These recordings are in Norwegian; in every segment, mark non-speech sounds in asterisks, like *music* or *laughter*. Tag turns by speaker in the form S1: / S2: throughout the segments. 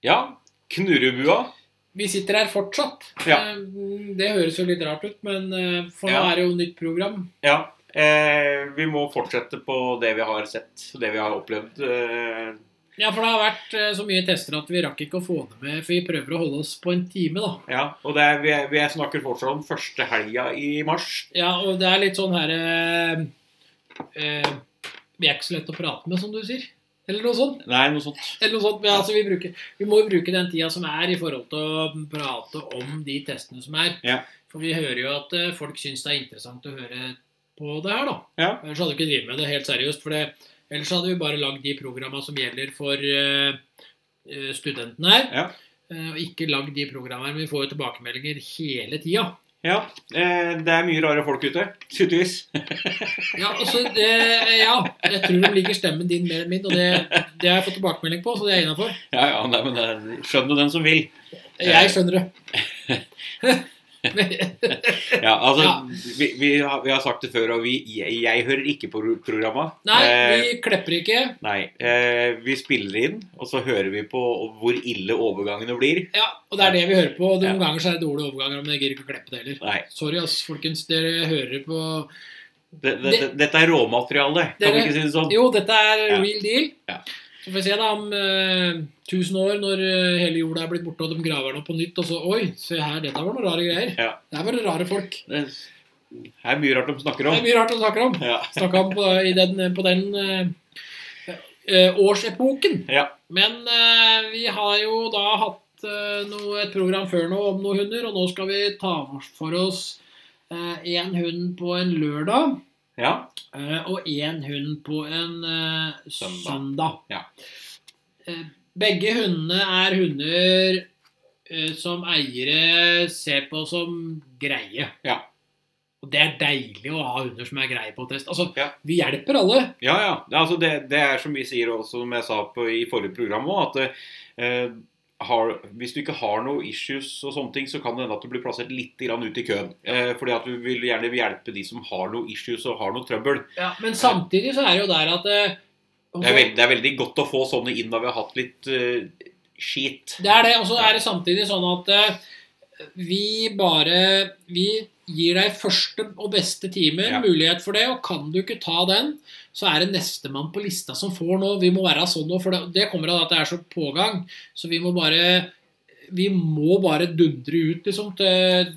S1: Ja. Knurrebua.
S2: Vi sitter her fortsatt.
S1: Ja.
S2: Eh, Det høres jo litt rart ut, men eh, for nå
S1: Ja.
S2: er det jo nytt program.
S1: Ja. Eh, vi må fortsette på det vi har sett, det vi har opplevd. Eh,
S2: Ja, for det har vært eh, så mye tester at vi rakk ikke å få det med, for vi prøver å holde oss på en time, da.
S1: ja. Og det er, vi, er, vi er snakker fortsatt om første helga i mars.
S2: Ja, og det er litt sånn her eh, eh, Vi er ikke så lett å prate med, som du sier. Eller noe sånt.
S1: Nei, noe sånt.
S2: Eller noe sånt. Men, altså, vi, bruker, vi må jo bruke den tida som er, i forhold til å prate om de testene som er.
S1: Ja.
S2: For vi hører jo at eh, folk syns det er interessant å høre på det her, da.
S1: Ja.
S2: Ellers hadde vi ikke drevet med det helt seriøst. For det, ellers hadde vi bare lagd de programma som gjelder for eh, eh, studentene her.
S1: Ja.
S2: eh, Og ikke lagd de programma her. Men vi får jo tilbakemeldinger hele tida.
S1: Ja. Eh, det er mye rare folk ute. Tydeligvis.
S2: Ja, altså, det, ja, jeg tror de liker stemmen din mer enn min, og det, det har jeg fått tilbakemelding på, så det er jeg innafor.
S1: *laughs* Ja, ja, nei, men det er- skjønn jo den som vil.
S2: Jeg skjønner
S1: *laughs*
S2: det.
S1: Ja, altså,
S2: Ja.
S1: Vi, vi, har, vi har sagt det før, og vi, jeg, jeg hører ikke på pro- programmet.
S2: Nei,
S1: Eh,
S2: vi klepper ikke.
S1: nei eh, vi spiller inn, og så hører vi på hvor ille overgangene blir.
S2: Ja, og det er det vi hører på. og
S1: Ja.
S2: Noen ganger så er det dårlige overganger, men jeg gidder ikke å kleppe det heller.
S1: Nei,
S2: Sorry, ass, folkens. Dere hører på
S1: det, det, det, Dette er råmateriale, kan vi
S2: Dere-
S1: ikke si det sånn?
S2: Jo, dette er
S1: Ja.
S2: real deal.
S1: Ja.
S2: Så får vi se da om eh, tusen år, når eh, hele jorda er blitt borte, og de graver den opp på nytt, og så Oi, se her, dette var noen rare greier.
S1: Ja.
S2: Det her var det rare folk.
S1: Det er mye rart de snakker
S2: Det
S1: om.
S2: er mye rart å snakke om.
S1: Ja.
S2: Snakka om på, i den, på den eh, eh, årsepoken.
S1: Ja.
S2: Men eh, vi har jo da hatt eh, noe, et program før nå om noen hunder, og nå skal vi ta for oss én hund på en lørdag
S1: ja.
S2: eh, og én hund på en eh,
S1: Søndag.
S2: søndag.
S1: Ja.
S2: Eh, begge hundene er hunder eh, som eiere ser på som greie.
S1: Ja.
S2: Og det er deilig å ha hunder som er greie på test. Altså,
S1: Ja.
S2: vi hjelper alle.
S1: Ja, ja. Det, altså det, det er som vi sier også, som jeg sa på, i forrige program òg, at eh, har, hvis du ikke har noe issues og sånne ting, så kan det hende at du blir plassert litt grann ut i køen. Eh, fordi at du vil gjerne hjelpe de som har noe issues og har noe trøbbel.
S2: Ja, men samtidig så er det jo der at eh,
S1: Det er, veld, det er veldig godt å få sånne inn når vi har hatt litt eh, skit.
S2: Det er det, og så er det samtidig sånn at eh, vi bare Vi gir deg første og beste timer
S1: Ja.
S2: mulighet for det, og kan du ikke ta den, så er det nestemann på lista som får nå. Vi må være sånn nå, for det, det kommer av at det er så pågang. Så vi må bare Vi må bare dundre ut, liksom. Til,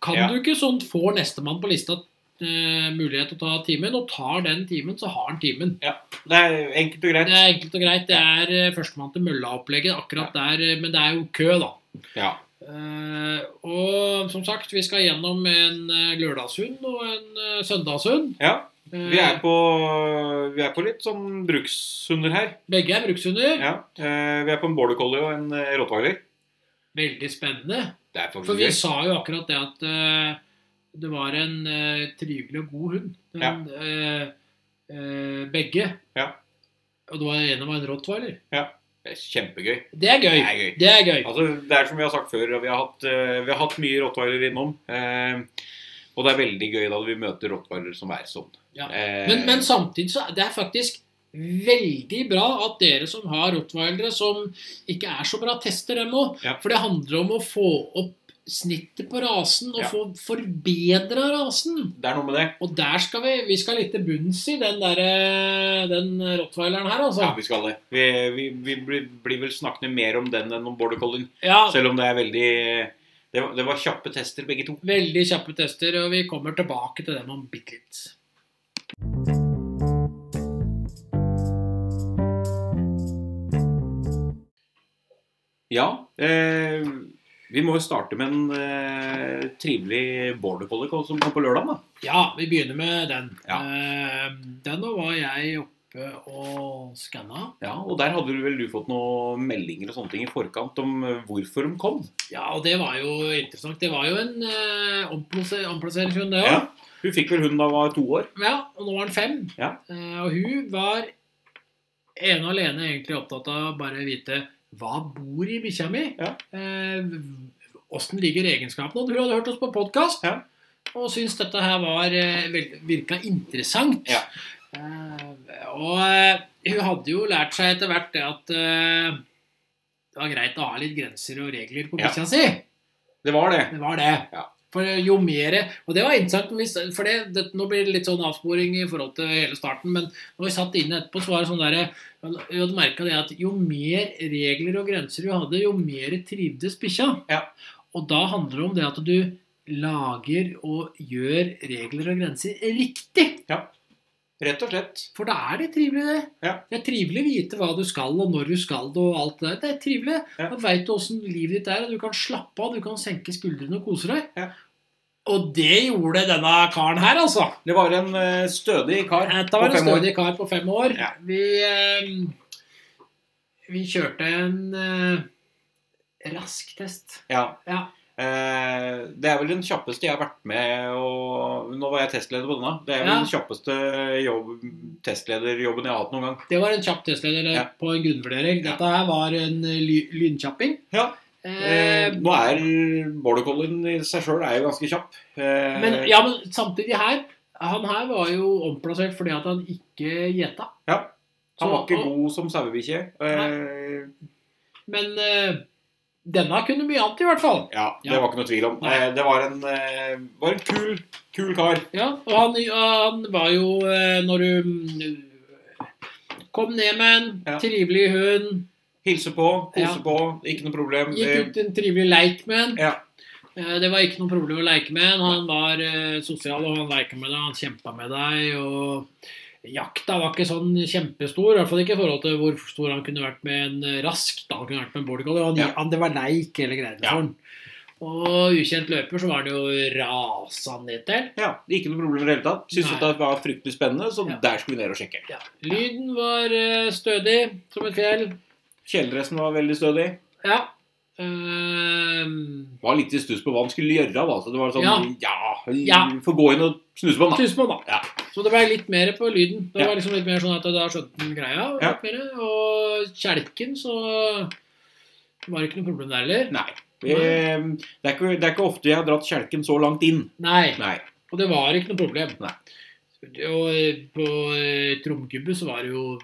S2: kan
S1: Ja.
S2: du ikke sånn, får nestemann på lista eh, mulighet til å ta timen, og tar den timen, så har han timen.
S1: Det er enkelt og greit.
S2: Det er enkelt og greit. Det er eh, førstemann til mølla-opplegget akkurat der, eh, men det er jo kø, da.
S1: Ja.
S2: Eh, og som sagt, vi skal gjennom en eh, lørdagshund og en eh, søndagshund.
S1: ja.
S2: Eh,
S1: Vi er, på, vi er på litt sånn brukshunder her.
S2: Begge er brukshunder.
S1: Ja. Eh, vi er på en border collie og en eh, rottweiler.
S2: Veldig spennende.
S1: Det er for
S2: For vi
S1: mye.
S2: sa jo akkurat det at eh, det var en eh, trivelig og god hund. Den, eh, eh, begge.
S1: Ja.
S2: Og det var en av en rottweiler.
S1: Det er kjempegøy.
S2: Det er gøy.
S1: Det er gøy.
S2: Det er gøy.
S1: Altså, det er som vi har sagt før, og vi har hatt, eh, vi har hatt mye rottweiler innom. Eh, og det er veldig gøy da vi møter rottweiler som er sånn.
S2: Ja.
S1: Eh,
S2: Men, men samtidig så er det er faktisk veldig bra at dere som har rottweilere som ikke er så bra, tester dem òg.
S1: Ja.
S2: For det handler om å få opp snittet på rasen og
S1: Ja.
S2: få forbedra rasen.
S1: det er noe med det.
S2: Og der skal vi vi skal litt til bunns i den, der, eh, den rottweileren her, altså.
S1: Ja, vi skal det. Vi, vi, vi blir, blir vel snakkende mer om den enn om border collien.
S2: Ja,
S1: Selv om det er veldig det var, det var kjappe tester, begge to.
S2: Veldig kjappe tester, og vi kommer tilbake til dem om bitte litt.
S1: Ja. Eh, vi må jo starte med en eh, trivelig border collie som kom på lørdag, da.
S2: Ja, vi begynner med den.
S1: Ja.
S2: Eh, Den nå var jeg oppe og skanna.
S1: Ja, og der hadde du vel du fått noen meldinger og sånne ting i forkant om eh, hvorfor de kom?
S2: Ja, og det var jo interessant. Det var jo en eh, omplasser- omplasseringshund, det
S1: Ja.
S2: òg.
S1: Hun fikk vel hun da var to år?
S2: Ja. og nå var den fem.
S1: Ja.
S2: Eh, og hun var ene og alene egentlig opptatt av bare å vite hva bor i bikkja mi? Eh,
S1: Ja.
S2: Åssen ligger egenskapene? Og hun hadde hørt oss på podkast
S1: Ja.
S2: og syntes dette her var eh, vel- virka interessant.
S1: Ja.
S2: Eh, og eh, hun hadde jo lært seg etter hvert det at eh, det var greit å ha litt grenser og regler på
S1: Ja.
S2: bikkja si.
S1: Det var det.
S2: Det var det.
S1: Ja.
S2: For jo mer Og det var interessant. når vi- For det, det, nå blir det litt sånn avsporing i forhold til hele starten. Men når vi satt inne etterpå, så var det sånn derre Vi hadde merka det at jo mer regler og grenser du hadde, jo mer trivdes bikkja.
S1: Ja.
S2: Og da handler det om det at du lager og gjør regler og grenser riktig.
S1: Rett og slett.
S2: For da er det trivelig, det.
S1: Ja.
S2: Det er trivelig å vite hva du skal, og når du skal det, og alt det der. Det er trivelig.
S1: Ja.
S2: Da veit du åssen livet ditt er, og du kan slappe av, du kan senke skuldrene og kose deg.
S1: Ja.
S2: Og det gjorde denne karen her, altså.
S1: Det var en eh, stødig kar
S2: Dette var
S1: på
S2: en
S1: fem år.
S2: stødig kar på fem år.
S1: Ja.
S2: Vi, eh, vi kjørte en eh, rask test.
S1: Ja.
S2: Ja.
S1: Eh, det er vel den kjappeste jeg har vært med og Nå var jeg testleder på denne. Det er vel
S2: Ja.
S1: den kjappeste jobb, testlederjobben jeg har hatt noen gang.
S2: Det var en kjapp testleder eh,
S1: Ja.
S2: på en grunnvurdering.
S1: Ja.
S2: Dette her var en eh, ly lynkjapping.
S1: Ja. Eh,
S2: Eh,
S1: nå er border collien i seg sjøl er jo ganske kjapp. Eh,
S2: Men, ja, men samtidig her Han her var jo omplassert fordi at han ikke gjeta.
S1: Ja. Han var
S2: Så-
S1: ikke
S2: og-
S1: god som sauebikkje. Eh,
S2: Men eh, denne kunne mye annet, i hvert fall.
S1: ja, det
S2: Ja.
S1: var ikke noe tvil om.
S2: Nei.
S1: Eh, det var en, eh, var en kul, kul kar.
S2: Ja, Og han, han var jo eh, Når du mm, kom ned med en
S1: Ja.
S2: trivelig hund,
S1: Hilse på, kose
S2: Ja.
S1: på, ikke noe problem.
S2: gikk
S1: Eh,
S2: ut en trivelig leik med en.
S1: Ja.
S2: Eh, Det var ikke noe problem å leke med en. Han var eh, sosial, og han leika med deg, han kjempa med deg. og Jakta var ikke sånn kjempestor, i hvert fall ikke i forhold til hvor stor han kunne vært med en eh, rask. da han kunne vært med en border collie, og han,
S1: Ja.
S2: han, Det var leik hele greiene
S1: Ja.
S2: for han. Og ukjent løper så var det jo rasa ned til.
S1: ja, Ikke noe problem i det hele tatt. Syntes
S2: Nei.
S1: at det var fryktelig spennende, så
S2: Ja.
S1: der skulle vi ned og sjekke.
S2: Lyden var eh, stødig som et fjell.
S1: Kjeledressen var veldig stødig.
S2: Ja. Ehm,
S1: var litt i stuss på hva han skulle gjøre. Da. Så det var sånn, ja,
S2: Ja.
S1: får gå inn og snuse på han da.
S2: Tusen på, da.
S1: Ja.
S2: Så det ble litt mer på lyden. Det
S1: Ja.
S2: var liksom litt mer sånn at da skjønte han greia.
S1: Ja.
S2: litt Mer, og kjelken, så var det ikke noe problem der heller.
S1: Nei. Eh, Det er, ikke, det er ikke ofte jeg har dratt kjelken så langt inn.
S2: Nei.
S1: Nei.
S2: Og det var ikke noe problem.
S1: Nei.
S2: Og eh, på eh, tromgubbe så var det jo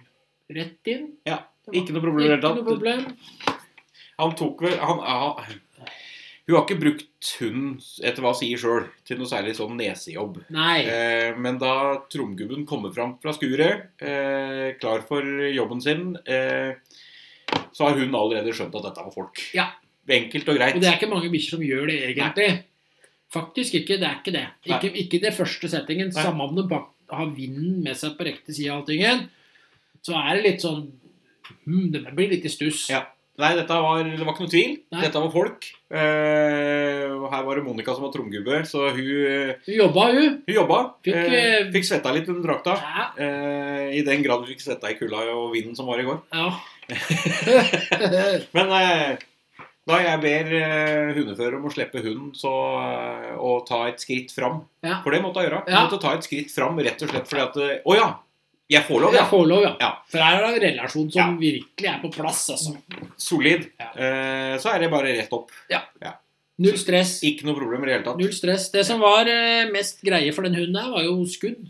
S2: rett inn.
S1: Ja,
S2: Det var
S1: Ikke noe problem i det
S2: ikke
S1: hele
S2: noe
S1: tatt.
S2: problem.
S1: Han tok vel han, han, Hun har ikke brukt hunden, etter hva hun sier sjøl, til noe særlig sånn nesejobb.
S2: Nei.
S1: Eh, men da tromgubben kommer fram fra skuret, eh, klar for jobben sin, eh, så har hun allerede skjønt at dette var folk.
S2: Ja.
S1: Enkelt og greit.
S2: Og det er ikke mange bikkjer som gjør det, egentlig. Faktisk ikke. Det er ikke det.
S1: Nei.
S2: Ikke, ikke det første settingen.
S1: Nei.
S2: Samme om du bak- har vinden med seg på riktig side av alltingen, så er det litt sånn hmm, Det blir litt i stuss.
S1: Ja. Nei, dette var, det var ikke noe tvil.
S2: Nei.
S1: Dette var folk. Eh, og her var det Monica som var tromgubbe, så hun, eh,
S2: Hun jobba, hun.
S1: hun jobba.
S2: Fikk,
S1: eh,
S2: eh,
S1: fikk svetta litt under drakta.
S2: Ja.
S1: Eh, I den grad hun fikk svetta i kulda og vinden som var i går.
S2: ja. *laughs*
S1: *laughs* Men eh, da jeg ber eh, hundefører om å slippe hunden så, eh, og ta et skritt fram
S2: Ja.
S1: For det måtte jeg gjøre. Jeg
S2: Ja.
S1: måtte ta et skritt fram rett og slett fordi at eh, Å ja! Jeg får lov,
S2: Jeg
S1: ja.
S2: får lov, ja.
S1: Ja.
S2: For her er det en relasjon som
S1: Ja.
S2: virkelig er på plass. altså.
S1: Solid.
S2: Ja.
S1: Eh, så er det bare rett opp.
S2: Null stress.
S1: Ikke noe problem i det hele tatt.
S2: Null stress. Det som var eh, mest greie for den hunden her, var jo skudd.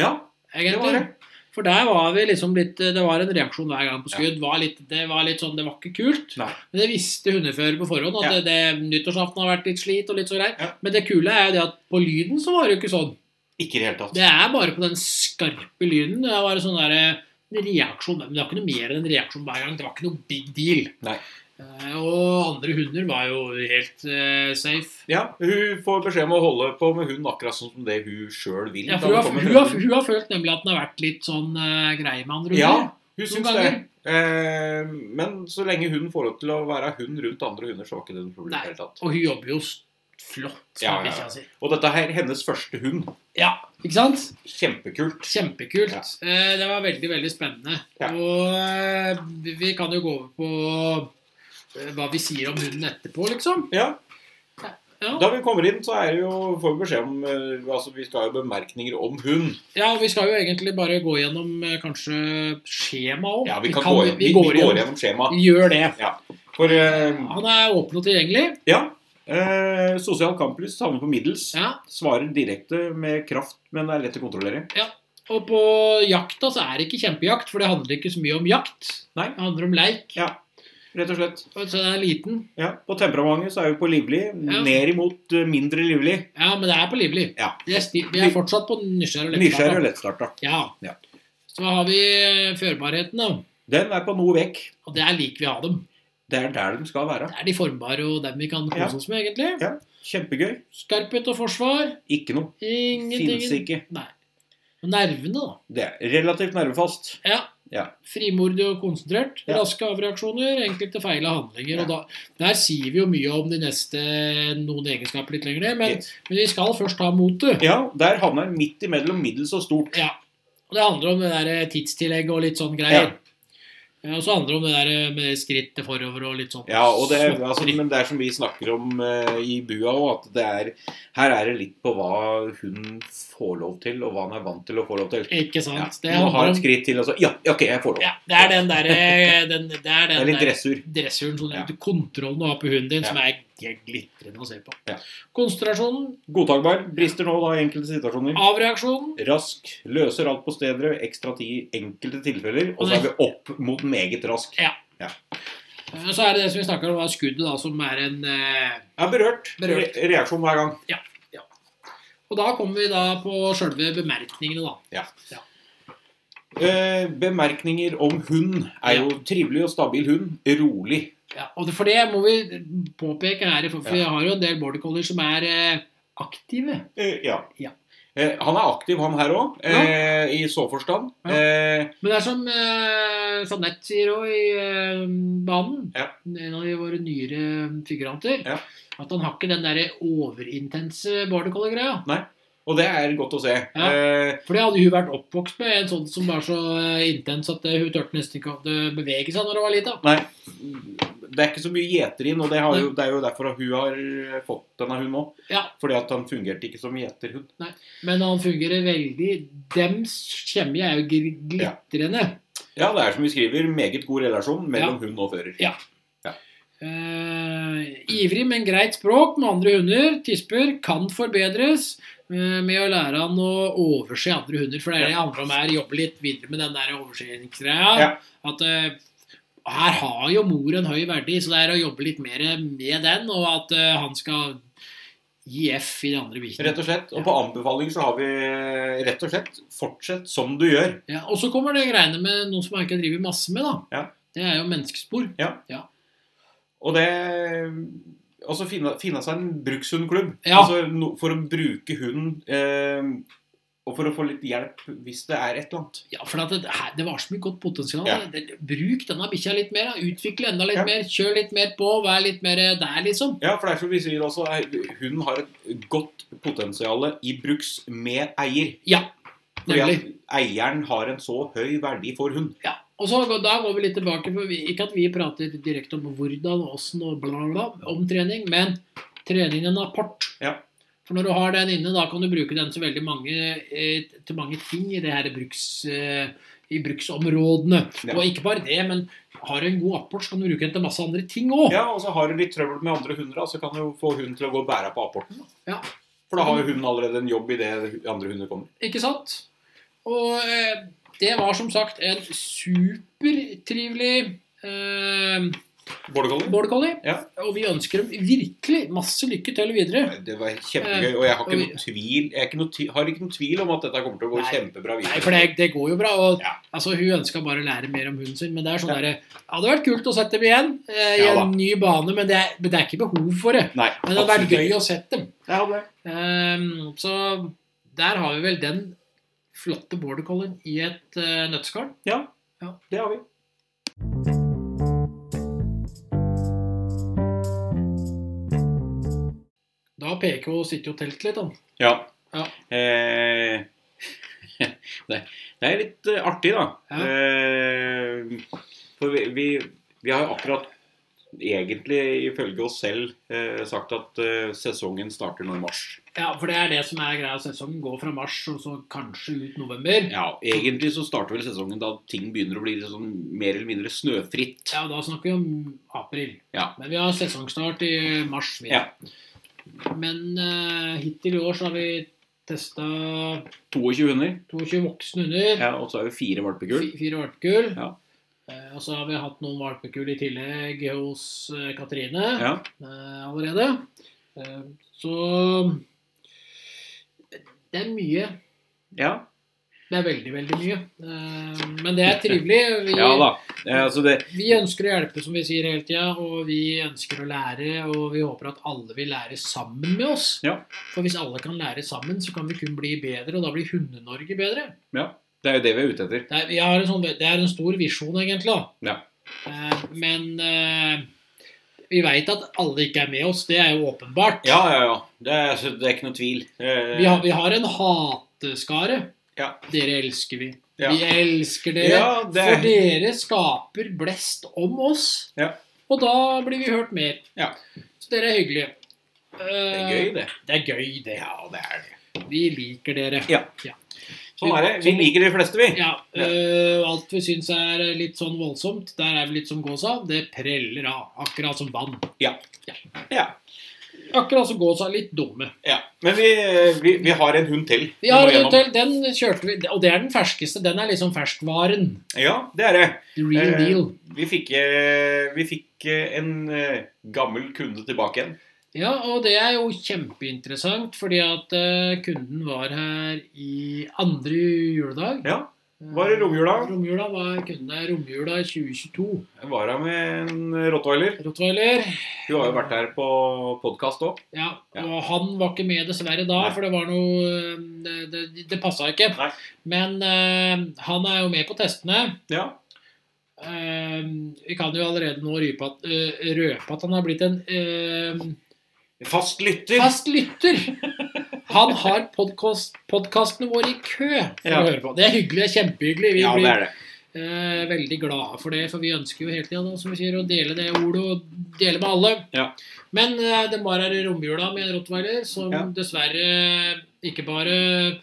S1: Ja, det
S2: egentlig.
S1: var det.
S2: For der var vi liksom litt Det var en reaksjon hver gang på skudd. Var litt, det var litt sånn, det var ikke kult.
S1: Nei.
S2: Men det visste hundefører på forhånd, at
S1: Ja.
S2: det, det, nyttårsaften har vært litt slit og litt så greit.
S1: Ja.
S2: Men det kule er jo det at på lyden så var det jo ikke sånn.
S1: Ikke i det hele tatt.
S2: Det er bare på den skarpe lyden. Det var en sånn der, eh, reaksjon. Men det var ikke noe mer enn en reaksjon hver gang. Det var ikke noe big deal.
S1: Nei.
S2: Eh, Og andre hunder var jo helt eh, safe.
S1: Ja, hun får beskjed om å holde på med hun akkurat sånn som det hun sjøl vil. da
S2: Ja, for hun, har,
S1: kommer
S2: hun, har,
S1: frem.
S2: hun har følt nemlig at den har vært litt sånn eh, grei med andre hunder.
S1: Ja, hun
S2: noen
S1: syns det.
S2: ganger.
S1: Eh, men så lenge hun får lov til å være hund rundt andre hunder, så var ikke det noe problem. i
S2: Nei.
S1: det hele tatt.
S2: Og hun jobber jo s- flott med
S1: Ja, ja, ja.
S2: bikkja si.
S1: Og dette her, hennes første hund.
S2: Ja, ikke sant?
S1: Kjempekult.
S2: Kjempekult.
S1: Ja.
S2: Eh, Det var veldig, veldig spennende.
S1: Ja.
S2: Og eh, vi- vi kan jo gå over på eh, hva vi sier om hunden etterpå, liksom.
S1: Ja,
S2: Ja,
S1: Da vi kommer inn, så er det jo, får vi beskjed om eh, altså Vi skal ha jo bemerkninger om hund.
S2: ja og vi skal jo egentlig bare gå gjennom eh, kanskje skjemaet òg.
S1: Ja, Vi, kan gå, igjen- vi, vi går gjennom skjemaet.
S2: Vi gjør det.
S1: For eh,
S2: Han er åpen og tilgjengelig.
S1: ja. Eh, sosial kamplyst havner på middels.
S2: Ja.
S1: Svarer direkte med kraft, men er lett å kontrollere.
S2: Og på jakta så er det ikke kjempejakt, for det handler ikke så mye om jakt.
S1: Nei.
S2: Det handler om leik.
S1: Ja. rett og slett.
S2: Så den er liten.
S1: Ja, På temperamentet så er vi på livlig.
S2: Ja.
S1: Ned imot eh, mindre livlig.
S2: Ja, men det er på Livli.
S1: Ja.
S2: Vi er, sti- vi er fortsatt på nysgjerrig og
S1: Nysgjerrig og
S2: lettstarta.
S1: lettstarta.
S2: Ja.
S1: Ja.
S2: Så har vi eh, førbarheten, da.
S1: Den er på noe vekk.
S2: Og det er lik vi har dem.
S1: Det er der de skal være.
S2: Det er de formbare og dem vi kan
S1: Ja.
S2: kose oss med, egentlig.
S1: Kjempegøy.
S2: Skarphet og forsvar.
S1: Ikke noe.
S2: Ingenting.
S1: Fins ikke.
S2: Nei. Og nervene, da.
S1: Det er relativt nervefast.
S2: Ja.
S1: Ja.
S2: Frimodig og konsentrert.
S1: Ja.
S2: Raske avreaksjoner. Enkelte feil av handlinger.
S1: Ja.
S2: Og da, der sier vi jo mye om de neste noen egenskaper litt lenger ned, men,
S1: Yes.
S2: men vi skal først ta motet.
S1: Ja, der havner den midt imellom middels og stort.
S2: Ja. Og det handler om det der tidstillegget og litt sånn
S1: Ja.
S2: greier. Ja, Og så handler det om det der eh, med skrittet forover og litt sånn.
S1: Ja, og det, er- altså,
S2: småtteri.
S1: Men det er som vi snakker om eh, i bua òg, at det er, her er det litt på hva hun får lov til, og hva han er vant til å få lov til.
S2: Ikke sant?
S1: Ja,
S2: Det
S1: du må ha
S2: handler
S1: et
S2: om
S1: skritt til, og så Ja, ja, ok, jeg får lov.
S2: ja, Det er den derre den, Det er
S1: det
S2: den
S1: er litt
S2: der
S1: dressur.
S2: dressuren, sånn
S1: Ja.
S2: du- kontrollen du har på hunden din,
S1: Ja.
S2: som er glitrende å se på.
S1: Ja.
S2: Konsentrasjonen,
S1: Godtakbar. Brister nå, da, i enkelte
S2: Ah.
S1: situasjoner.
S2: avreaksjonen
S1: Rask. Løser alt på stedet. Ekstra tid i enkelte tilfeller. Og så er vi opp mot meget rask.
S2: eh, Så er det det som vi snakker om, er skuddet, da, som er en eh,
S1: Er berørt.
S2: Berørt.
S1: Re reaksjon hver gang.
S2: Og da kommer vi da på sjølve bemerkningene, da.
S1: Eh, bemerkninger om hund er jo trivelig og stabil hund. Rolig.
S2: Ja, og det, for det må vi påpeke her, for for vi
S1: Ja.
S2: har jo en del border collier som er eh, aktive.
S1: Eh, ja.
S2: Ja.
S1: Eh, han er aktiv, han her òg, eh, i så forstand.
S2: Ja.
S1: Eh,
S2: Men det er som eh, Jeanette sier òg i eh, Banen,
S1: Ja.
S2: en av de våre nyere eh, figuranter,
S1: Ja.
S2: at han har ikke den derre overintense border collie-greia.
S1: og det er godt å se.
S2: Ja.
S1: Eh,
S2: For det hadde hun vært oppvokst med, en sånn som var så eh, intens at eh, hun turte nesten ikke å eh, bevege seg når hun var lita.
S1: nei, det er ikke så mye gjeter inn, og det, har jo, det er jo derfor at hun har eh, fått denne hunden òg.
S2: Ja.
S1: Fordi at han fungerte ikke som gjeterhund.
S2: Men han fungerer veldig Dems kjemie er jo gl-
S1: Ja.
S2: glitrende.
S1: Ja, det er som vi skriver, meget god relasjon mellom hund og fører.
S2: Ja. Eh, ivrig, men greit språk med andre hunder. Tisper kan forbedres eh, med å lære han å overse andre hunder. For det er det det handler om her. Jobbe litt videre med den der overseningsgreia.
S1: Ja.
S2: At eh, her har jo mor en høy verdi, så det er å jobbe litt mer med den, og at eh, han skal gi F i de andre bikkjene.
S1: Rett og slett. Og på anbefaling så har vi eh, rett og slett fortsett som du gjør.
S2: Ja, og så kommer det greiene med noe som han ikke driver masse med, da.
S1: Ja.
S2: Det er jo menneskespor.
S1: Og det Og så finne, finne seg en brukshundklubb.
S2: Ja.
S1: Altså, no, for å bruke hunden eh, og for å få litt hjelp hvis det er et eller annet.
S2: Ja, for at det, her, det var så mye godt potensial.
S1: Ja.
S2: Det- det- Bruk denne bikkja litt mer. da. Utvikle enda litt
S1: Ja.
S2: mer. Kjør litt mer på. Vær litt mer eh, der, liksom.
S1: Ja, for det er som vi sier også, er- hunden har et godt potensial i bruks med eier.
S2: Ja,
S1: Fordi
S2: nemlig.
S1: at eieren har en så høy verdi for hund.
S2: Ja. Og så går- da går vi litt tilbake, for vi, ikke at vi prater direkte om hvordan og åssen og bla, bla, bla om trening, men treningen en apport.
S1: Ja.
S2: For når du har den inne, da kan du bruke den til veldig mange, eh, til mange ting i det her bruks... Eh, i bruksområdene.
S1: Ja.
S2: Og ikke bare det, men har du en god apport, så kan du bruke den til masse andre ting òg.
S1: Ja, og så har du litt trøbbel med andre hunder, da, så kan du jo få hunden til å gå og bære på apporten. da.
S2: Ja.
S1: For da har jo hunden allerede en jobb i det andre hunder kommer.
S2: Ikke sant? Og eh, det var som sagt en supertrivelig eh,
S1: Border collie?
S2: border collie.
S1: Ja.
S2: Og vi ønsker dem virkelig masse lykke til videre.
S1: Nei, Det var kjempegøy,
S2: Eh,
S1: og jeg har ikke noe tvil, jeg er ikke noe tvi- har ikke noe tvil om at dette kommer til å gå
S2: Nei.
S1: kjempebra
S2: Nei,
S1: videre.
S2: for det, det går jo bra. Og,
S1: Ja.
S2: altså, hun ønska bare å lære mer om hunden sin. Men det er sånn
S1: Ja.
S2: derre ja, Det hadde vært kult å sette dem igjen eh, i
S1: Ja da.
S2: en ny bane, men det, er, men det er ikke behov for det.
S1: Nei,
S2: Men det hadde vært
S1: absolutt
S2: gøy
S1: ikke.
S2: å sette dem.
S1: Jeg hadde det.
S2: Ehm, så der har vi vel den flotte border collien i et eh, nøtteskall.
S1: Ja,
S2: Ja.
S1: det har vi.
S2: Da PK sitter jo og telter litt, han.
S1: Ja.
S2: Ja.
S1: Eh, *laughs* det, det er litt eh, artig, da.
S2: Ja.
S1: Eh, for vi, vi, vi har jo akkurat egentlig ifølge oss selv eh, sagt at eh, sesongen starter nå i mars.
S2: Ja, for det er det som er greia. Sesongen går fra mars og så kanskje ut november.
S1: Ja, egentlig så starter vel sesongen da ting begynner å bli litt sånn mer eller mindre snøfritt.
S2: Ja, og Da snakker vi om april.
S1: Ja.
S2: Men vi har sesongstart i mars. Vi.
S1: Ja.
S2: Men eh, hittil i år så har vi testa
S1: 22 hunder.
S2: 22 voksne hunder.
S1: Ja, og så er jo fire valpekull.
S2: fi- Fire valpekull.
S1: Ja.
S2: Eh, Og så har vi hatt noen valpekull i tillegg hos eh, Katrine
S1: Ja.
S2: eh, allerede. Eh, Så det er mye.
S1: ja.
S2: Det er veldig, veldig mye. Eh, Men det er trivelig. Vi,
S1: Ja da. Eh, Altså det,
S2: vi ønsker å hjelpe, som vi sier hele tida, og vi ønsker å lære, og vi håper at alle vil lære sammen med oss.
S1: Ja.
S2: For hvis alle kan lære sammen, så kan vi kun bli bedre, og da blir Hunde-Norge bedre.
S1: det er jo det vi er ute etter.
S2: Det er, jeg har en sånn, det er en stor visjon, egentlig. da.
S1: Ja.
S2: Eh, men eh, vi veit at alle ikke er med oss. Det er jo åpenbart.
S1: Ja, ja, ja. Det er, altså, det er ikke noe tvil. Eh,
S2: Vi, har, vi har en hateskare.
S1: Ja.
S2: Dere elsker vi.
S1: Ja.
S2: Vi elsker dere.
S1: ja, det
S2: For
S1: er,
S2: dere skaper blest om oss.
S1: Ja.
S2: Og da blir vi hørt mer.
S1: Ja.
S2: Så dere er hyggelige. Eh,
S1: det er gøy, det.
S2: Det er gøy, det.
S1: Ja, det er det.
S2: Vi liker dere.
S1: Sånn er det. Vi liker de fleste, vi.
S2: Ja, øh, alt vi syns er litt sånn voldsomt, der er vi litt som gås av, det preller av. Akkurat som vann.
S1: Ja.
S2: Akkurat som gås av, litt dumme.
S1: ja. Men vi, vi, vi har en hund til.
S2: Vi
S1: må
S2: har en
S1: gjennom.
S2: hotell, den kjørte vi, og det er den ferskeste. Den er liksom ferskvaren.
S1: Ja, det er det.
S2: The real
S1: Eh,
S2: deal.
S1: Vi fikk, eh, vi fikk eh, en eh, gammel kunde tilbake igjen.
S2: Ja, og det er jo kjempeinteressant, fordi at eh, kunden var her i andre juledag. Eh,
S1: Ja, Var det romjula?
S2: Romjula var kunden her romjula 2022.
S1: jeg var her med en rottweiler.
S2: Rottweiler.
S1: Hun har jo vært her på podkast òg.
S2: Ja,
S1: Ja.
S2: og han var ikke med dessverre da,
S1: Nei.
S2: for det var noe øhm, Det, det, det passa ikke.
S1: Nei.
S2: Men øhm, han er jo med på testene.
S1: Ja.
S2: Øhm, vi kan jo allerede nå rype at, øh, røpe at han har blitt en eh, øhm,
S1: Fast lytter.
S2: fast lytter. Han har podcast, podkastene våre i kø for
S1: Ja.
S2: å høre på. Det er hyggelig. det er Kjempehyggelig. Vi
S1: Ja, det
S2: blir
S1: er det.
S2: øh, veldig glade for det, for vi ønsker jo hele tida da, som vi sier, å dele det ordet og dele med alle.
S1: Ja.
S2: Men eh, den var her i romjula med en rottweiler som
S1: Ja.
S2: dessverre ikke bare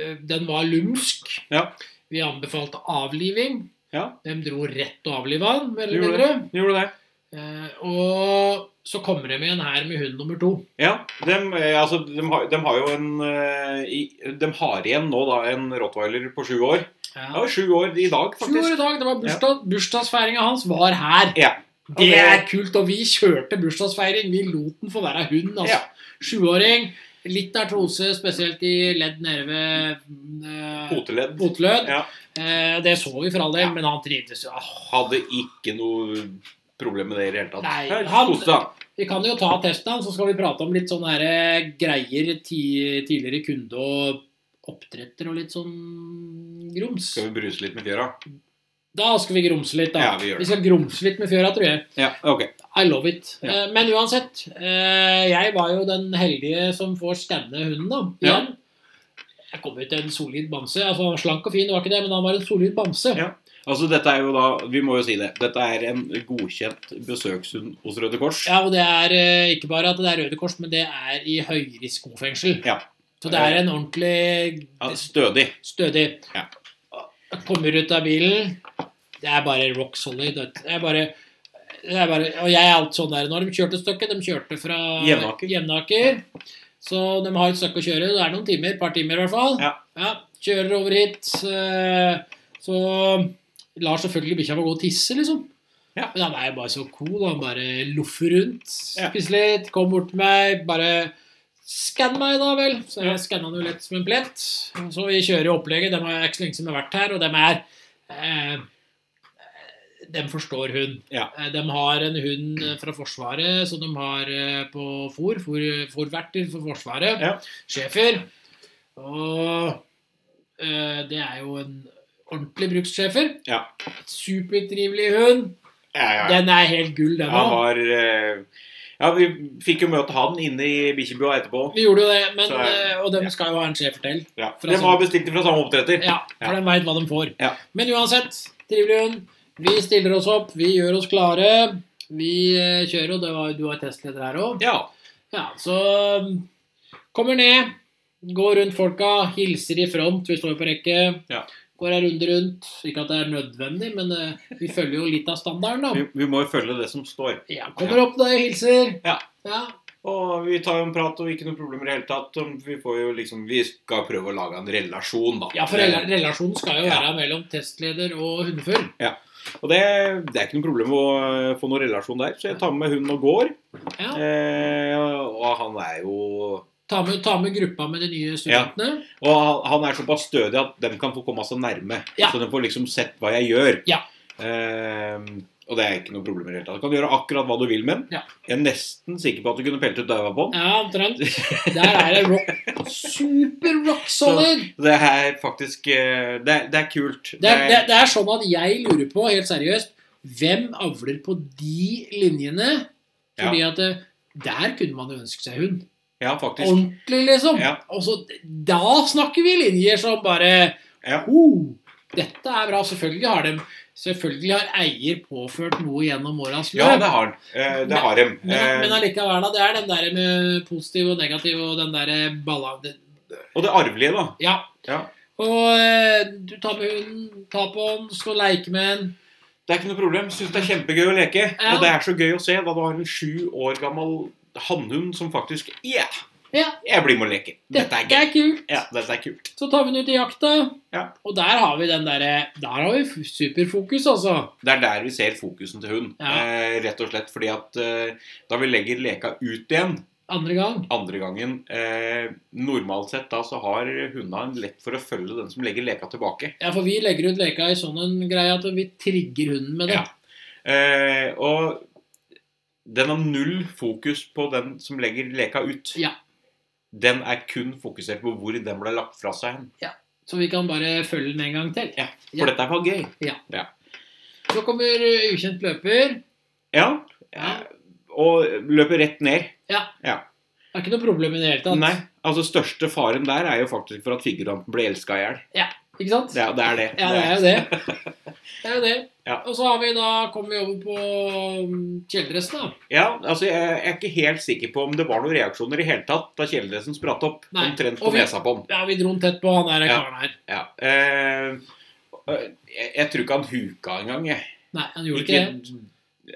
S2: eh, Den var lumsk.
S1: Ja.
S2: Vi anbefalte avliving.
S1: Ja.
S2: De dro rett og avliva han, mer eller
S1: Gjorde
S2: mindre.
S1: Gjorde det.
S2: Eh, og så kommer de igjen her med hund nummer to.
S1: Ja, dem, eh, altså, dem, har, dem har jo en eh, i, dem har igjen nå da en rottweiler på sju år. Ja,
S2: Ja.
S1: sju år i dag,
S2: Sju år
S1: faktisk.
S2: i dag. Det var bursdag, Bursdagsfeiringa hans var her.
S1: Ja.
S2: Det er kult. Og vi kjørte bursdagsfeiring. Vi lot den få være hund. altså.
S1: Ja.
S2: Sjuåring. Litt artrose, spesielt i ledd nede ved eh,
S1: Poteledd.
S2: Potlød.
S1: Ja.
S2: Eh, det så vi for all del,
S1: Ja.
S2: men han trivdes jo. Ah, Åh,
S1: Hadde ikke noe problem med det i det hele tatt.
S2: Nei,
S1: Her,
S2: han-
S1: koste han.
S2: Vi kan jo ta testen, hans, så skal vi prate om litt sånne her eh, greier ti, tidligere kunde og oppdretter og litt sånn grums.
S1: Skal vi bruse litt med fjøra?
S2: Da skal vi grumse litt, da.
S1: Ja, vi gjør det.
S2: skal grumse litt med fjøra, tror jeg.
S1: Ja, ok.
S2: I love it.
S1: Ja.
S2: Eh, men uansett, eh, jeg var jo den heldige som får stemme hunden, da.
S1: Ja.
S2: Igjen. Jeg kom ut til en solid bamse. Altså, han var slank og fin, det var ikke det, men han var en solid bamse.
S1: Ja. Altså, dette er jo da, Vi må jo si det. Dette er en godkjent besøkshund hos Røde Kors.
S2: Ja, og det er eh, ikke bare at det er Røde Kors, men det er i høyrisikofengsel.
S1: Ja.
S2: Så det er en ordentlig
S1: Ja, stødig.
S2: stødig
S1: Ja.
S2: Jeg Kommer ut av bilen Det er bare rock solid. vet du. Det er bare, det er bare Og jeg er alt sånn der når de kjørte stykket. De kjørte fra
S1: Jevnaker.
S2: Jevnaker. Så de har et stykke å kjøre. Det er noen timer. Et par timer, i hvert fall.
S1: Ja.
S2: kjører over hit. eh, Så lar selvfølgelig bikkja få gå og tisse, liksom.
S1: Ja.
S2: Men han er jo bare så cool. Han bare loffer rundt,
S1: Ja.
S2: spiser litt, kom bort til meg. Bare skann meg, da vel. Så jeg skanna han jo lett som en plett. Så vi kjører jo opplegget. Dem er ikke så lenge siden de har vært her, og dem er eh, Dem forstår hun.
S1: Ja.
S2: Eh, De har en hund eh, fra Forsvaret som de har eh, på fôr. fôr- Fôrverter for Forsvaret.
S1: Ja.
S2: Sjefer. Og eh, det er jo en ordentlig brukssjefer.
S1: Ja.
S2: Supertrivelig hund.
S1: Ja, ja, ja.
S2: Den er helt gull, den
S1: Han
S2: òg.
S1: var eh, Ja, vi fikk jo møte han inne i bikkjebua etterpå.
S2: Vi gjorde jo det, men,
S1: Så, eh,
S2: eh, og de
S1: ja.
S2: skal jo ha en sjef til.
S1: Ja.
S2: Fra
S1: De
S2: samme-
S1: var bestilt fra samme oppdretter.
S2: altså- Ja, for
S1: Ja.
S2: de veit hva de får.
S1: Ja.
S2: Men uansett, trivelig hund. Vi stiller oss opp, vi gjør oss klare. Vi eh, kjører, og det var, du var testleder her òg.
S1: Ja.
S2: Ja, så um, kommer ned, går rundt folka, hilser i front, vi står på rekke.
S1: Ja.
S2: Går ei runde rundt. Ikke at det er nødvendig, men eh, vi følger jo litt av standarden, da.
S1: Vi, vi må jo følge det som står.
S2: Ja, kommer opp der, hilser.
S1: Ja.
S2: ja.
S1: Og vi tar jo en prat, og ikke noen problemer i det hele tatt. og Vi, får jo liksom, vi skal prøve å lage en relasjon, da. Eh,
S2: Ja, for rela- relasjonen skal jo
S1: Ja.
S2: være mellom testleder og hundefører.
S1: Ja. Og det, det er ikke noe problem å eh, få noen relasjon der. Så jeg tar med hun og går.
S2: Ja.
S1: Eh, og han er jo
S2: Ta med, ta med gruppa med de nye studentene.
S1: Og han- han er såpass stødig at de kan få komme så nærme.
S2: Ja.
S1: Så de får liksom sett hva jeg gjør.
S2: Ja.
S1: Eh, og det er ikke noe problem i det hele tatt. Du kan gjøre akkurat hva du vil med den.
S2: Ja.
S1: Jeg er nesten sikker på at du kunne pelt ut daua på den.
S2: Ja, omtrent. Der er det rock. Super rock solid!
S1: Det er faktisk eh, Det er, det er kult.
S2: Det er, det, det er sånn at jeg lurer på, helt seriøst, hvem avler på de linjene? Fordi at eh, der kunne man jo ønske seg hund.
S1: Ja, faktisk.
S2: Ordentlig, liksom.
S1: Ja.
S2: Og så, da snakker vi linjer som bare
S1: Ja.
S2: «Ho, Dette er bra. Selvfølgelig har, dem, selvfølgelig har eier påført noe gjennom åras løp.
S1: Ja, det har han. Eh, det har de.
S2: men, men
S1: Eh,
S2: allikevel, da. Det er den der med positiv og negativ og den derre balla...
S1: Eh, og det arvelige, da.
S2: Ja.
S1: Ja.
S2: Og eh, du tar med hunden, ta på den, skal leke med den.
S1: Det er ikke noe problem. Syns det er kjempegøy å leke.
S2: Ja.
S1: Og det er så gøy å se da du har en sju år gammel hannhund som faktisk Ja,
S2: Ja.
S1: jeg blir med å leke. Dette er gøy.
S2: er kult.
S1: Ja, dette er kult.
S2: Så tar vi den ut i jakta,
S1: Ja.
S2: og der har vi den derre Der har vi superfokus, altså.
S1: Det er der vi ser fokusen til hund.
S2: Ja.
S1: Eh, rett og slett fordi at eh, da vi legger leka ut igjen
S2: Andre gang.
S1: andre gangen eh, Normalt sett da så har hundene en lett for å følge den som legger leka tilbake.
S2: Ja, for vi legger ut leka i sånn en greie at vi trigger hunden med det.
S1: Ja. Eh, og den har null fokus på den som legger leka ut.
S2: Ja.
S1: Den er kun fokusert på hvor den ble lagt fra seg hen.
S2: Så vi kan bare følge den en gang til.
S1: For
S2: Ja.
S1: dette er for gøy.
S2: Så kommer uh, ukjent løper.
S1: Ja. Eh,
S2: Ja.
S1: Og løper rett ned.
S2: Det er ikke noe problem i det hele tatt.
S1: Nei. Altså, største faren der er jo faktisk for at figuranten blir elska i hjel.
S2: Ikke sant?
S1: Det, er- det er det.
S2: Ja, det er jo det. Det er jo det.
S1: Ja.
S2: Og så har vi da, kommer vi over på um, kjeledressen, da.
S1: Ja, altså, jeg jeg er ikke helt sikker på om det var noen reaksjoner i hele tatt da kjeledressen spratt opp
S2: Nei.
S1: omtrent på
S2: Og vi-
S1: nesa på den.
S2: Ja, vi dro den tett på han der
S1: Ja.
S2: karen her.
S1: Ja. Eh, jeg, jeg tror ikke han huka engang, jeg.
S2: Nei, han gjorde ikke det.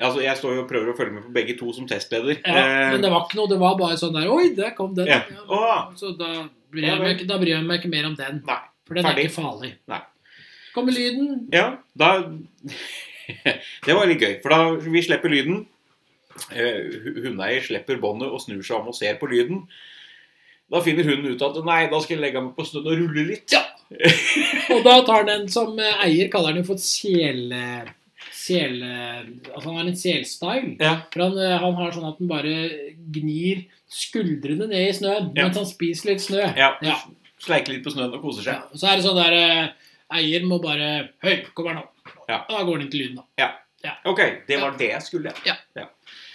S1: Altså, jeg står jo og prøver å følge med på begge to som testleder.
S2: Ja, men det var ikke noe, det var bare sånn der Oi, der kom den.
S1: Eh, Ja.
S2: Ja.
S1: Å.
S2: Så da bryr, jeg meg, ikke- da bryr jeg meg ikke mer om den.
S1: Nei,
S2: For den
S1: ferdig.
S2: er ikke farlig.
S1: Nei.
S2: Kommer lyden.
S1: Ja, da *laughs* Det var litt gøy, for da vi slipper lyden. Eh, hu- Hundeeier slipper båndet og snur seg om og ser på lyden. Da finner hunden ut at nei, da skal jeg legge meg på snøen og rulle litt. Ja.
S2: Og da tar den som eh, eier kaller den jo for sele... Sele... Altså han har en selstyle.
S1: Ja.
S2: For han, eh, han har sånn at den bare gnir skuldrene ned i snøen
S1: Ja.
S2: mens han spiser litt snø. Ja.
S1: Sleike litt på snøen og koser seg.
S2: Ja, og Så er det sånn der eh, Eier må bare Høy, kom her nå.
S1: Ja.
S2: Og Da går den til lyden, da.
S1: Ok, det var det jeg skulle.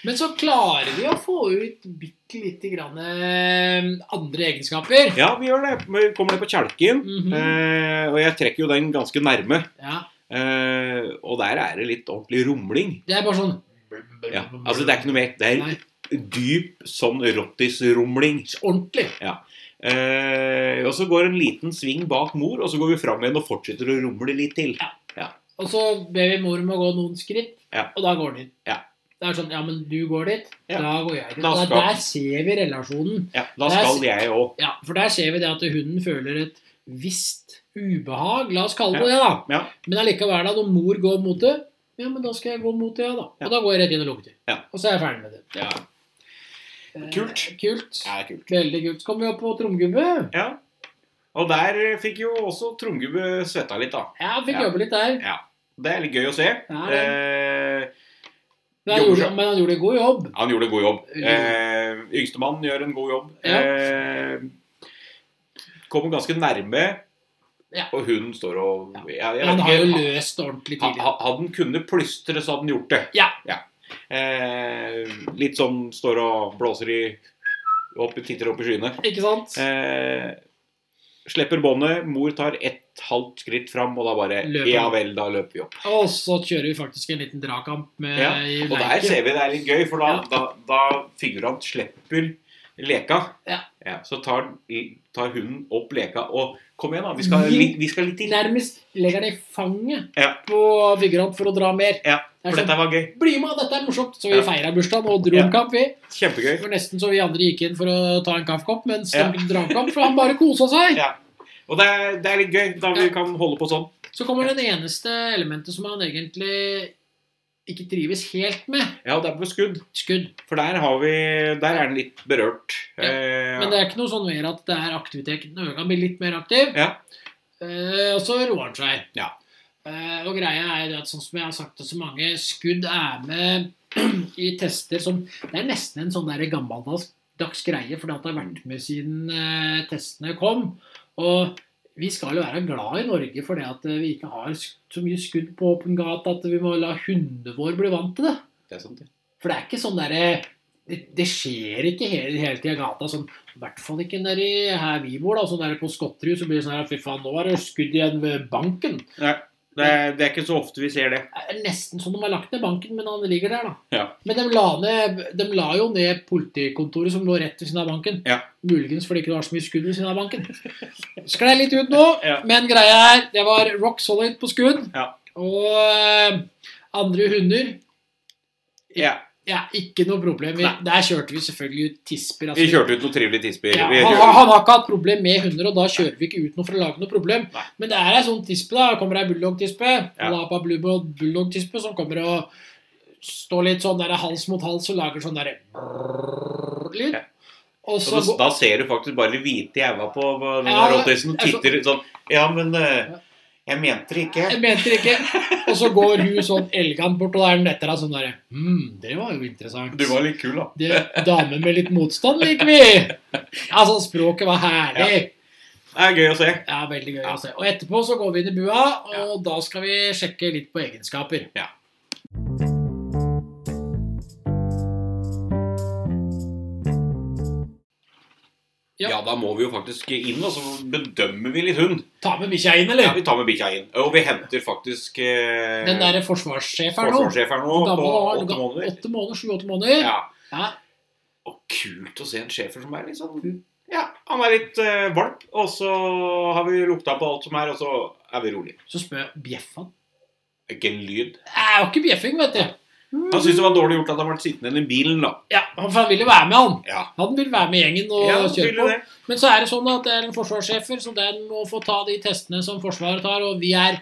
S2: Men så klarer vi å få ut bitte lite grann eh, andre egenskaper.
S1: Ja, vi gjør det. Vi kommer ned på kjelken.
S2: Mhm.
S1: eh, og jeg trekker jo den ganske nærme.
S2: Ja,
S1: Eh, og der er det litt ordentlig rumling.
S2: det er bare sånn
S1: Ja, altså Det er ikke noe mer. Det er
S2: Nei.
S1: dyp sånn rottisrumling.
S2: ordentlig.
S1: Eh, og så går en liten sving bak mor, og så går vi fram igjen og fortsetter å rumle litt til.
S2: Og så ber vi mor om å gå noen skritt,
S1: Ja.
S2: og da går den inn.
S1: Ja.
S2: Det er sånn Ja, men du går dit,
S1: Ja.
S2: da går jeg dit.
S1: Da
S2: Der,
S1: skal-
S2: der ser vi relasjonen.
S1: Ja, Da skal jeg òg.
S2: Ja, For der ser vi det at hunden føler et visst ubehag, la oss kalle det det, da.
S1: Ja.
S2: Men allikevel, da, når mor går mot det, ja, men da skal jeg gå mot det, ja, da.
S1: Ja.
S2: Og da går jeg rett inn og lukker til.
S1: Ja.
S2: Og så er jeg ferdig med det.
S1: Ja.
S2: Eh,
S1: Kult.
S2: Kult.
S1: Det er kult.
S2: Veldig kult. Så kommer vi opp på tromgubbe.
S1: Ja. Og der fikk jo også Tromgubbe svetta litt, da.
S2: Ja, fikk
S1: Ja.
S2: jobbe litt der.
S1: Det er litt gøy å se.
S2: Ja, det-
S1: Eh,
S2: Men han,
S1: Jobber
S2: gjorde,
S1: seg.
S2: men han gjorde en god jobb.
S1: han gjorde en god jobb. Eh, Yngstemann gjør en god jobb.
S2: Ja.
S1: Eh, kommer ganske nærme,
S2: Ja.
S1: og hun står og ja, jeg vet
S2: Han har
S1: ikke.
S2: jo løst ordentlig
S1: Ha-
S2: tidlig.
S1: ha- Hadde den kunnet plystre, så hadde den gjort det.
S2: Ja.
S1: Eh, litt sånn står og blåser i opp, Titter opp i skyene.
S2: Ikke sant?
S1: Eh, slipper båndet, mor tar ett halvt skritt fram, og da bare
S2: Løper.
S1: Ja vel, da løper vi opp.
S2: Og så kjører vi faktisk en liten dragkamp med
S1: Ja,
S2: i
S1: Og der ser vi det er litt gøy, for da,
S2: Ja.
S1: da, da figurant slipper leka.
S2: Ja.
S1: så tar, tar hunden opp leka og Kom igjen, da. Vi skal litt, vi skal litt til.
S2: Nærmest legger han i fanget
S1: Ja.
S2: på figurant for å dra mer.
S1: Ja, For
S2: Det er sånn,
S1: dette var gøy.
S2: Bli med, dette er morsomt! Så vi
S1: Ja.
S2: feira bursdagen og dro
S1: Ja.
S2: en kamp, vi.
S1: Kjempegøy.
S2: Det var nesten så vi andre gikk inn for å ta en kaffekopp, mens
S1: Ja.
S2: de dragkamp, for han bare kosa seg.
S1: Ja. Og det er, det er litt gøy, da vi
S2: Ja.
S1: kan holde på sånn.
S2: Så kommer den eneste elementet som han egentlig ikke trives helt med.
S1: Ja, det er på skudd.
S2: Skudd.
S1: For der, har vi, der er den litt berørt.
S2: Ja,
S1: Eh,
S2: Men det er ikke noe sånn mer at det er aktiviteten øker. Han blir litt mer aktiv.
S1: Ja.
S2: Eh, og så roer han seg.
S1: Ja.
S2: Eh, og greia er det at sånn som jeg har sagt til så mange, skudd er med *clears throat* i tester som Det er nesten en sånn der gammeldags greie, for det har vært med siden eh, testene kom. Og vi skal jo være glad i Norge for det at eh, vi ikke har sk- så mye skudd på åpen gate at vi må la hundene våre bli vant til det.
S1: det er sant, det.
S2: For det er ikke sånn derre det, det skjer ikke hele, hele tida i gata. Sånn, I hvert fall ikke nedi her vi bor. da, sånn der På Skotterud så blir det sånn her Fy faen, nå er det skudd igjen ved banken.
S1: Nei, det, er, det er ikke så ofte vi ser det.
S2: Det er nesten som de har lagt ned banken, men han ligger der, da.
S1: Ja.
S2: Men de la, ned, de la jo ned politikontoret som lå rett ved siden av banken.
S1: Ja.
S2: Muligens fordi det ikke var så mye skudd ved siden av banken. *laughs* Sklei litt ut nå,
S1: Ja.
S2: men greia er det var rock solid på skudd.
S1: Ja.
S2: Og eh, andre hunder
S1: Ja.
S2: Ja, ikke noe problem. Vi,
S1: Nei.
S2: der kjørte vi selvfølgelig ut tisper. altså.
S1: Vi kjørte ut noen trivelige tisper.
S2: Ja,
S1: Vi
S2: han,
S1: kjørte-
S2: han har ikke hatt problem med hunder, og da kjører vi ikke ut noe for å lage noe problem.
S1: Nei.
S2: Men det er ei sånn tispe, da. Kommer ei bulldog-tispe,
S1: Ja.
S2: Lapa blue bull- bulldog-tispe, som kommer og står litt sånn der, hals mot hals og lager sånn derre lyd.
S1: Ja.
S2: Og
S1: Så da,
S2: så går-
S1: da ser du faktisk bare de hvite jævla på på den
S2: Ja,
S1: der rottisen og
S2: jeg så-
S1: titter sånn Ja, men eh, jeg mente det ikke.
S2: Jeg mente det ikke. Og så går hun sånn elegant bort, og da er hun etter deg sånn derre Hm, det var jo interessant.
S1: Du var litt kul, da.
S2: det, dame med litt motstand liker vi. Altså, språket var herlig.
S1: Det er gøy å se.
S2: Ja, veldig gøy å se. Og etterpå så går vi inn i bua, og
S1: Ja.
S2: da skal vi sjekke litt på egenskaper.
S1: Ja.
S2: Ja.
S1: Ja. da må vi jo faktisk inn, og så bedømmer vi litt hund.
S2: Ta med bikkja inn, eller?
S1: Ja, vi tar med bikkja inn. Og vi henter faktisk eh,
S2: Den derre forsvarssjef her nå.
S1: forsvarssjef her nå
S2: Gammel
S1: på
S2: var
S1: åtte måneder.
S2: åtte måneder, sju-åtte måneder.
S1: Ja.
S2: Ja.
S1: Og kult å se en schæfer som er litt
S2: Mm.
S1: sånn Ja, han er litt eh, valp, og så har vi lukta på alt som er, og så er vi rolig.
S2: Så spør jeg bjeffa han.
S1: Ikke en lyd.
S2: Det er jo ikke bjeffing, vet du.
S1: Han syntes det var dårlig gjort at han ble sittende igjen i bilen, da.
S2: Ja, han- for han vil jo være med, han.
S1: Ja,
S2: Han vil være med gjengen og
S1: ja
S2: kjøre
S1: tydelig
S2: på.
S1: det.
S2: Men så er det sånn at det er en forsvarssjefer, så den må få ta de testene som Forsvaret tar. Og vi er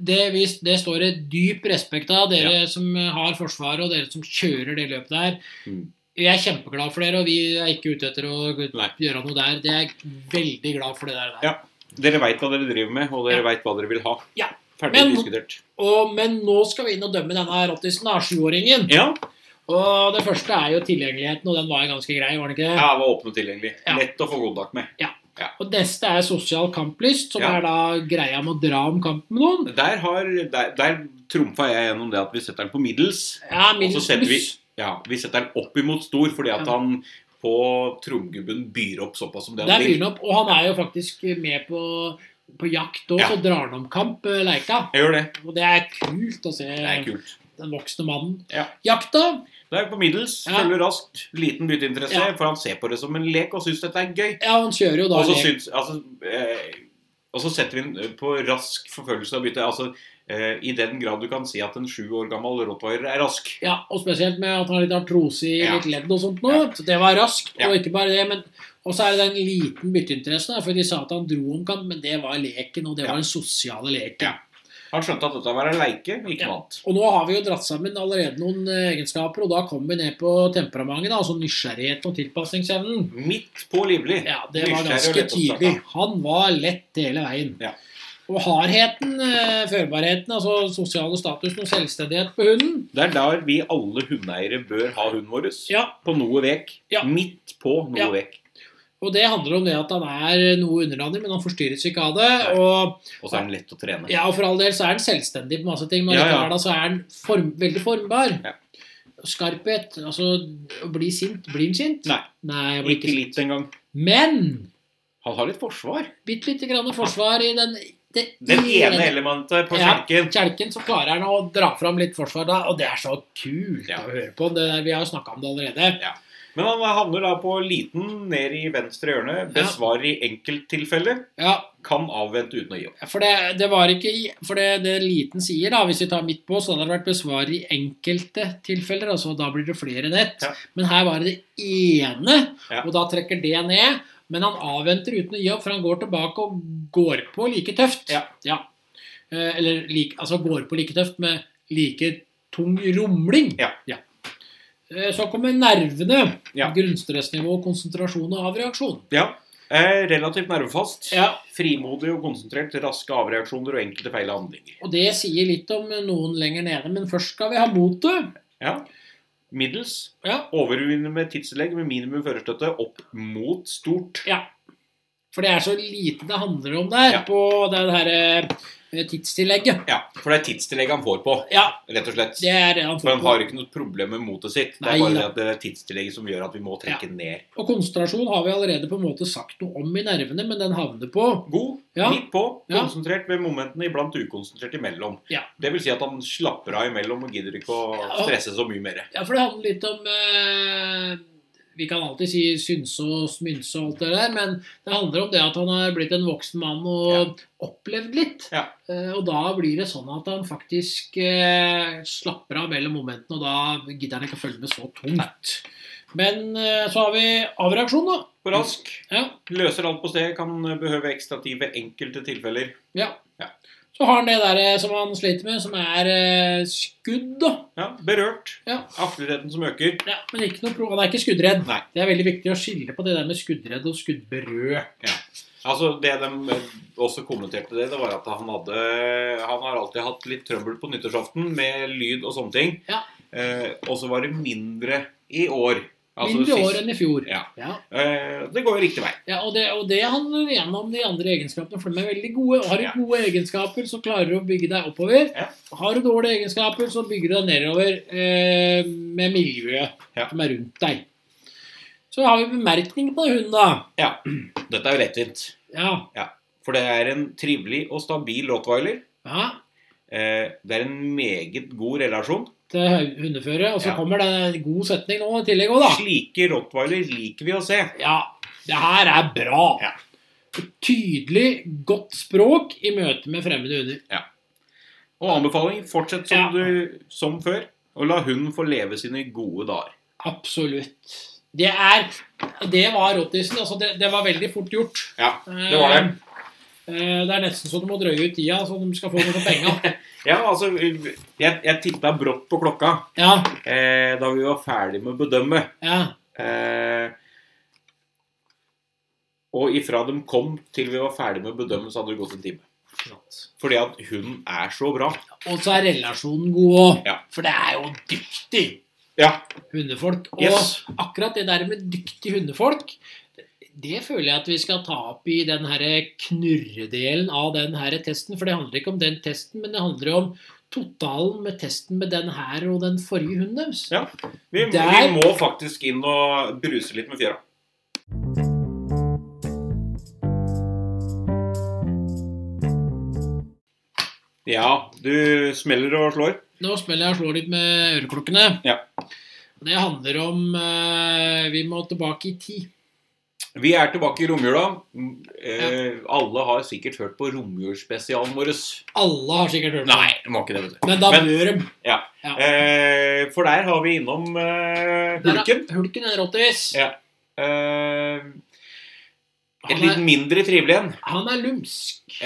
S2: Det, vi, det står et dyp respekt av dere som har Forsvaret, og dere som kjører det løpet der.
S1: Mm.
S2: Jeg er kjempeglad for dere, og vi er ikke ute etter å
S1: Nei.
S2: gjøre noe der. Det er jeg veldig glad for det der.
S1: Ja. Dere veit hva dere driver med, og dere
S2: Ja.
S1: vet veit hva dere vil ha.
S2: Ja.
S1: Ferdig
S2: Men-
S1: diskutert.
S2: Og, men nå skal vi inn og dømme denne rottisen, da, sjuåringen.
S1: Ja,
S2: Og det første er jo tilgjengeligheten, og den var jo ganske grei, var den ikke det?
S1: ja var åpen og tilgjengelig.
S2: Ja.
S1: Lett å få kontakt med.
S2: Og neste er sosial kamplyst, som
S1: Ja.
S2: er da greia med å dra om kamp med noen.
S1: Der, har, der, der trumfa jeg gjennom det at vi setter den på middels.
S2: Ja,
S1: Og så
S2: minus
S1: setter vi,
S2: pluss.
S1: ja, vi setter den opp imot stor, fordi at
S2: Ja.
S1: han på tromgubben byr opp såpass som det
S2: Der
S1: han
S2: byr
S1: vil.
S2: han opp, og han er jo faktisk med på, på jakt òg,
S1: Ja.
S2: så drar han om kamp eh, Leika.
S1: Jeg gjør det.
S2: Og det er kult å se
S1: Det er kult.
S2: den voksne mannen.
S1: Ja.
S2: Jakta
S1: Det er på middels.
S2: Ja.
S1: Følger raskt. Liten bytteinteresse,
S2: Ja.
S1: for han ser på det som en lek og syns dette er gøy.
S2: Ja, han kjører jo da
S1: Og så
S2: lek.
S1: syns Altså eh, og så setter vi den eh, på rask forfølgelse av bytte. Altså, eh, I den grad du kan si at en sju år gammel rottweiler er rask.
S2: Ja, og spesielt med at han har litt artrose i
S1: Ja.
S2: litt ledd og sånt nå.
S1: Ja.
S2: Så det var raskt.
S1: Ja.
S2: Og ikke bare det, men og så er det den liten bytteinteressen, da, for de sa at han dro om kamp, men det var leken, og det
S1: Ja.
S2: var den sosiale leken.
S1: Ja. Han skjønte at dette var en leike, ikke
S2: Ja.
S1: noe annet.
S2: Og nå har vi jo dratt sammen allerede noen eh, egenskaper, og da kommer vi ned på temperamentet, da, altså nysgjerrigheten og tilpasningsevnen.
S1: Midt på livlig.
S2: Ja, det
S1: Nysgjerrig
S2: var
S1: og
S2: ganske
S1: lett å snakke.
S2: tydelig. Han var lett hele veien.
S1: Ja.
S2: Og hardheten, eh, førbarheten, altså sosiale statusen og selvstendighet på hunden
S1: Det er der vi alle hundeeiere bør ha hunden vår.
S2: Ja,
S1: På noe vek.
S2: Ja.
S1: Midt på noe
S2: Ja.
S1: vek.
S2: og det handler om det at han er noe underlandig, men han forstyrres ikke av det.
S1: Nei.
S2: Og,
S1: Og så er den lett å trene.
S2: ja, og for all del så er han selvstendig på masse ting, men
S1: Ja, ja.
S2: likevel da så er han form, veldig formbar.
S1: Ja.
S2: Skarphet, altså å bli sint. Blir han sint?
S1: Nei.
S2: Nei han blir
S1: Ikke
S2: ikke sint.
S1: litt engang.
S2: Men
S1: Han har litt forsvar.
S2: bitte lite grann forsvar i den det
S1: Det ene elementet på
S2: Ja.
S1: kjelken.
S2: Kjelken så klarer han å dra fram litt forsvar da, og det er så kult
S1: Ja.
S2: å høre på. Det, vi har jo snakka om det allerede.
S1: Men han havner da på liten ned i venstre hjørne. Besvarer i enkelttilfeller.
S2: Ja,
S1: Kan avvente uten å gi opp.
S2: For det, det var ikke i- For det, det liten sier, da, hvis vi tar midt på, så hadde det vært besvar i enkelte tilfeller. Altså da blir det flere nett.
S1: Ja.
S2: Men her var det det ene,
S1: Ja.
S2: og da trekker det ned. Men han avventer uten å gi opp, for han går tilbake og går på like tøft.
S1: Ja.
S2: eh, Eller lik, altså går på like tøft med like tung rumling.
S1: Ja.
S2: Eh, Så kommer nervene.
S1: Ja.
S2: Grunnstressnivå, konsentrasjon og avreaksjon.
S1: Ja. Eh, relativt nervefast.
S2: Ja,
S1: Frimodig og konsentrert, raske avreaksjoner og enkelte feil handlinger.
S2: Og det sier litt om noen lenger nede, men først skal vi ha motet.
S1: Ja. Middels.
S2: Ja.
S1: Overvinne med tidstillegg med minimum førerstøtte opp mot stort.
S2: For det er så lite det handler om der,
S1: Ja.
S2: på det her eh, tidstillegget.
S1: Ja, for det er tidstillegg han får på,
S2: Ja,
S1: rett og slett.
S2: det er det han
S1: For
S2: får
S1: han
S2: på.
S1: har ikke noe problem med motet sitt. Det
S2: Nei,
S1: er bare det
S2: da.
S1: at det er tidstillegget som gjør at vi må trekke ned.
S2: Og konsentrasjon har vi allerede på en måte sagt noe om i nervene, men den havner på.
S1: God,
S2: Ja.
S1: midt på,
S2: Ja.
S1: konsentrert ved momentene, iblant ukonsentrert imellom.
S2: Ja.
S1: Det vil si at han slapper av imellom og gidder ikke å
S2: Ja.
S1: stresse så mye mer.
S2: Ja, for det handler litt om eh, Vi kan alltid si synse og smynse og alt det der, men det handler om det at han har blitt en voksen mann og opplevd litt.
S1: Ja.
S2: Eh, og da blir det sånn at han faktisk eh, slapper av mellom momentene, og da gidder han ikke å følge med så tungt. Men eh, så har vi avreaksjon, da.
S1: For rask.
S2: Ja.
S1: Løser alt på sted, kan behøve ekstra tid ved enkelte tilfeller.
S2: ja.
S1: Ja.
S2: Så har han det der eh, som han sliter med, som er eh, skudd, da.
S1: Ja, Berørt.
S2: Ja.
S1: Aktiviteten som øker.
S2: Ja, men ikke noe pro han er ikke skuddredd.
S1: Nei.
S2: Det er veldig viktig å skille på det der med skuddredd og skuddberørt.
S1: Altså, Det de også kommenterte det, det var at han hadde Han har alltid hatt litt trøbbel på nyttårsaften med lyd og sånne ting.
S2: Ja.
S1: Eh, og så var det mindre i år. Altså
S2: Mindre
S1: sist-
S2: år enn i fjor.
S1: Ja.
S2: Ja.
S1: Eh, det går jo riktig vei.
S2: Ja, og, det, og det handler igjen om de andre egenskapene, for de er veldig gode. Har du
S1: Ja.
S2: gode egenskaper, så klarer du å bygge deg oppover.
S1: Ja.
S2: Har du dårlige egenskaper, så bygger du deg nedover eh, med miljøet
S1: Ja.
S2: som er rundt deg. Så har vi bemerkning på hunden, da.
S1: Dette er jo lettvint.
S2: Ja.
S1: For det er en trivelig og stabil rottweiler.
S2: ja.
S1: Eh, det er en meget god relasjon.
S2: Til hø- hundeføre. Og så
S1: Ja.
S2: kommer det en god setning nå i tillegg òg, da.
S1: Slike rottweiler liker vi å se.
S2: Ja, det her er bra.
S1: Ja.
S2: Et Tydelig, godt språk i møte med fremmede hunder.
S1: Og anbefaling fortsett som,
S2: Ja.
S1: du, som før, og la hunden få leve sine gode dager.
S2: Absolutt. Det er Det var rottisen. Altså, det, det var veldig fort gjort.
S1: Ja, det var det.
S2: Eh, eh, Det er nesten så du må drøye ut tida, så de skal få noe
S1: *laughs*
S2: for penga.
S1: Ja, altså, jeg, jeg titta brått på klokka
S2: Ja,
S1: eh, da vi var ferdig med å bedømme.
S2: ja,
S1: Eh, og ifra de kom til vi var ferdig med å bedømme, så hadde det gått en time. Fordi at hunden er så bra.
S2: Og så er relasjonen god òg.
S1: Ja.
S2: For det er jo dyktig
S1: Ja.
S2: hundefolk. Og
S1: Yes.
S2: akkurat det der med dyktig hundefolk, det føler jeg at vi skal ta opp i den her knurredelen av den her testen. For det handler ikke om den testen, men det handler om totalen med testen med den her og den forrige hunden deres.
S1: Ja. Vi, vi
S2: Der-
S1: må faktisk inn og bruse litt med fjæra. Ja, du smeller og slår.
S2: Nå spiller jeg og slår litt med øreklokkene.
S1: Ja.
S2: Det handler om eh, Vi må tilbake i tid.
S1: Vi er tilbake i romjula. Mm, Eh, alle har sikkert hørt på romjulsspesialen vår.
S2: Alle har sikkert hørt om det.
S1: de har ikke det, vet du.
S2: Men da
S1: Men-
S2: bør de.
S1: Eh, for der har vi innom eh, Hulken.
S2: Der er- Hulken er en rottis.
S1: Ja. Eh, et
S2: Han,
S1: litt
S2: er-
S1: mindre trivelig en.
S2: han er lumsk.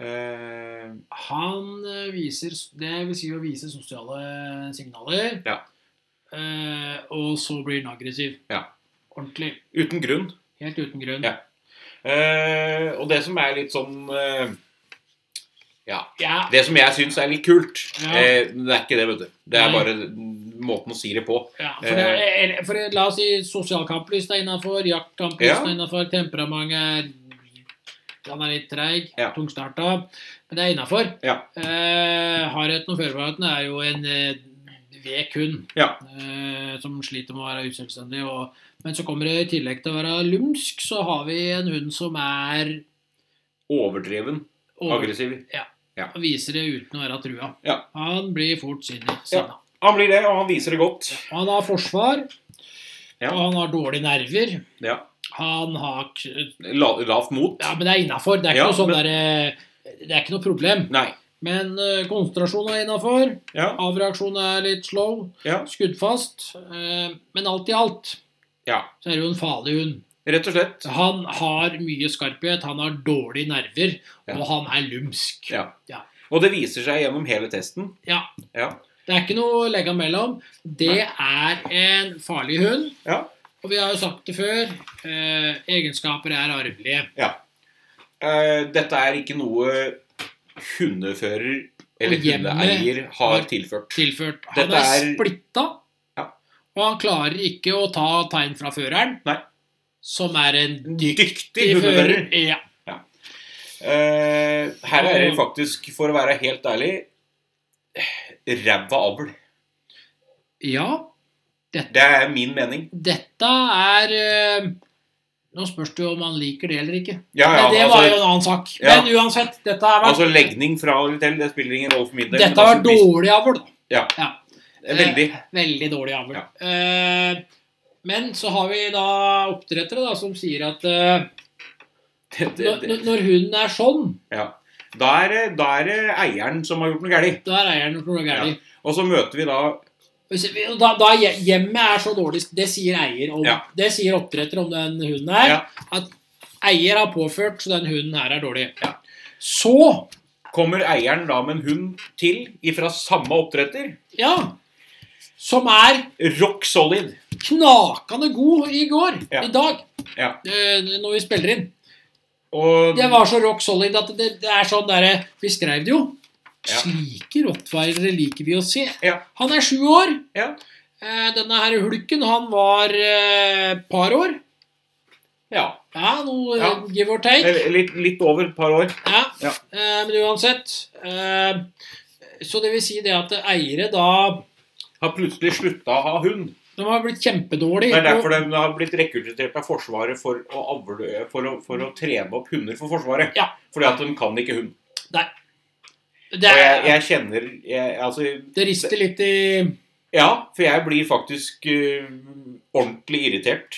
S1: Eh,
S2: Han eh, viser Det vil si å vise sosiale signaler.
S1: Ja.
S2: Eh, og så blir han aggressiv.
S1: Ja.
S2: Ordentlig.
S1: uten grunn.
S2: Helt uten grunn.
S1: Ja. Eh, og det som er litt sånn eh, Ja.
S2: Ja,
S1: Det som jeg syns er litt kult
S2: Ja.
S1: eh, men Det er ikke det, vet du. Det er
S2: Nei.
S1: bare måten å si det på.
S2: Ja, for, det, eller- for det- La oss si sosialkamplyst er innafor, jaktkamplyst
S1: Ja.
S2: er innafor, temperamentet er Han er litt treig,
S1: Ja.
S2: tungstarta, men det er innafor.
S1: Ja.
S2: Eh, hardheten og førbarheten er jo en eh, vek hund
S1: Ja.
S2: eh, som sliter med å være uselvstendig. Og, men så kommer det i tillegg til å være lumsk, så har vi en hund som er
S1: Overdreven.
S2: over,
S1: Aggressiv.
S2: og viser det uten å være trua.
S1: Ja.
S2: Han blir fort sinna.
S1: Ja. Han blir det, og han viser det godt.
S2: Han har forsvar,
S1: Ja.
S2: og han har dårlige nerver.
S1: Ja.
S2: Han har k-
S1: La, lavt mot.
S2: Ja, men det er innafor. Det er ikke
S1: Ja,
S2: noe sånn
S1: men-
S2: der, eh, Det er ikke noe problem.
S1: Nei.
S2: Men eh, konsentrasjon er innafor.
S1: Ja.
S2: Avreaksjon er litt slow.
S1: Ja.
S2: Skuddfast. eh, men alt i alt
S1: ja.
S2: så er det jo en farlig hund.
S1: Rett og slett.
S2: Han har mye skarphet, han har dårlige nerver,
S1: Ja.
S2: og han er lumsk.
S1: Ja.
S2: Ja.
S1: Og det viser seg gjennom hele testen.
S2: Ja.
S1: Ja.
S2: Det er ikke noe å legge mellom. Det er en farlig hund.
S1: Ja.
S2: Og vi har jo sagt det før, eh, egenskaper er arvelige.
S1: Eh, dette er ikke noe hundefører eller
S2: Og hjemmet
S1: hundeeier
S2: har-
S1: har tilført.
S2: Tilført. Han
S1: Dette
S2: er
S1: er-
S2: splitta,
S1: Ja.
S2: og han klarer ikke å ta tegn fra føreren,
S1: Nei.
S2: som er en
S1: Dyktig
S2: dyktig
S1: hundefører.
S2: fører. Ja.
S1: Eh, her er det faktisk, for å være helt ærlig, ræva avl.
S2: ja.
S1: Det er min mening.
S2: Dette er eh, Nå spørs det jo om han liker det eller ikke.
S1: Ja, ja,
S2: Men det var jo
S1: altså,
S2: en annen sak.
S1: Ja.
S2: Men uansett, dette har vært,
S1: altså legning fra eller til, det spiller ingen rolle for min del.
S2: dette har vært
S1: men altså,
S2: dårlig avl. da. Eh,
S1: det er Veldig.
S2: Veldig dårlig avl.
S1: Ja.
S2: Eh, men så har vi da oppdrettere da, som sier at eh,
S1: Det, det,
S2: når,
S1: det.
S2: når hunden er sånn,
S1: Da, er, det- da er det eieren som har gjort noe galt.
S2: da er eieren noe galt.
S1: Og så møter vi da
S2: Hvis vi- og Da, da hje- hjemmet er så dårlig, det sier eier om,
S1: Ja.
S2: det sier oppdretter om den hunden her,
S1: Ja.
S2: at eier har påført, så den hunden her er dårlig. Så
S1: Kommer eieren da med en hund til ifra samme oppdretter?
S2: Ja. Som er
S1: Rock solid.
S2: knakende god i går.
S1: Ja.
S2: I dag.
S1: Ja.
S2: Eh, når vi spiller inn.
S1: Og
S2: Det var så rock solid at det, det er sånn derre Vi skrev det jo.
S1: Ja.
S2: Slike rottweilere liker vi å se.
S1: Ja.
S2: Han er sju år.
S1: Ja.
S2: Eh, denne her hulken, han var eh, par år.
S1: Ja.
S2: Ja, noe eh,
S1: Ja.
S2: give or take.
S1: eh, Litt, litt over et par år.
S2: Ja.
S1: Ja.
S2: Eh, men uansett eh, Så det vil si det at eiere da
S1: Har plutselig slutta å ha hund.
S2: De har blitt kjempedårlige.
S1: Det er
S2: og-
S1: derfor de har blitt rekruttert av Forsvaret for å, avle, for, å, for å trene opp hunder for Forsvaret.
S2: Ja.
S1: Fordi at de kan ikke hund.
S2: det,
S1: Og
S2: er,
S1: jeg, jeg kjenner jeg, altså,
S2: det rister litt i
S1: Ja, for jeg blir faktisk eh, ordentlig irritert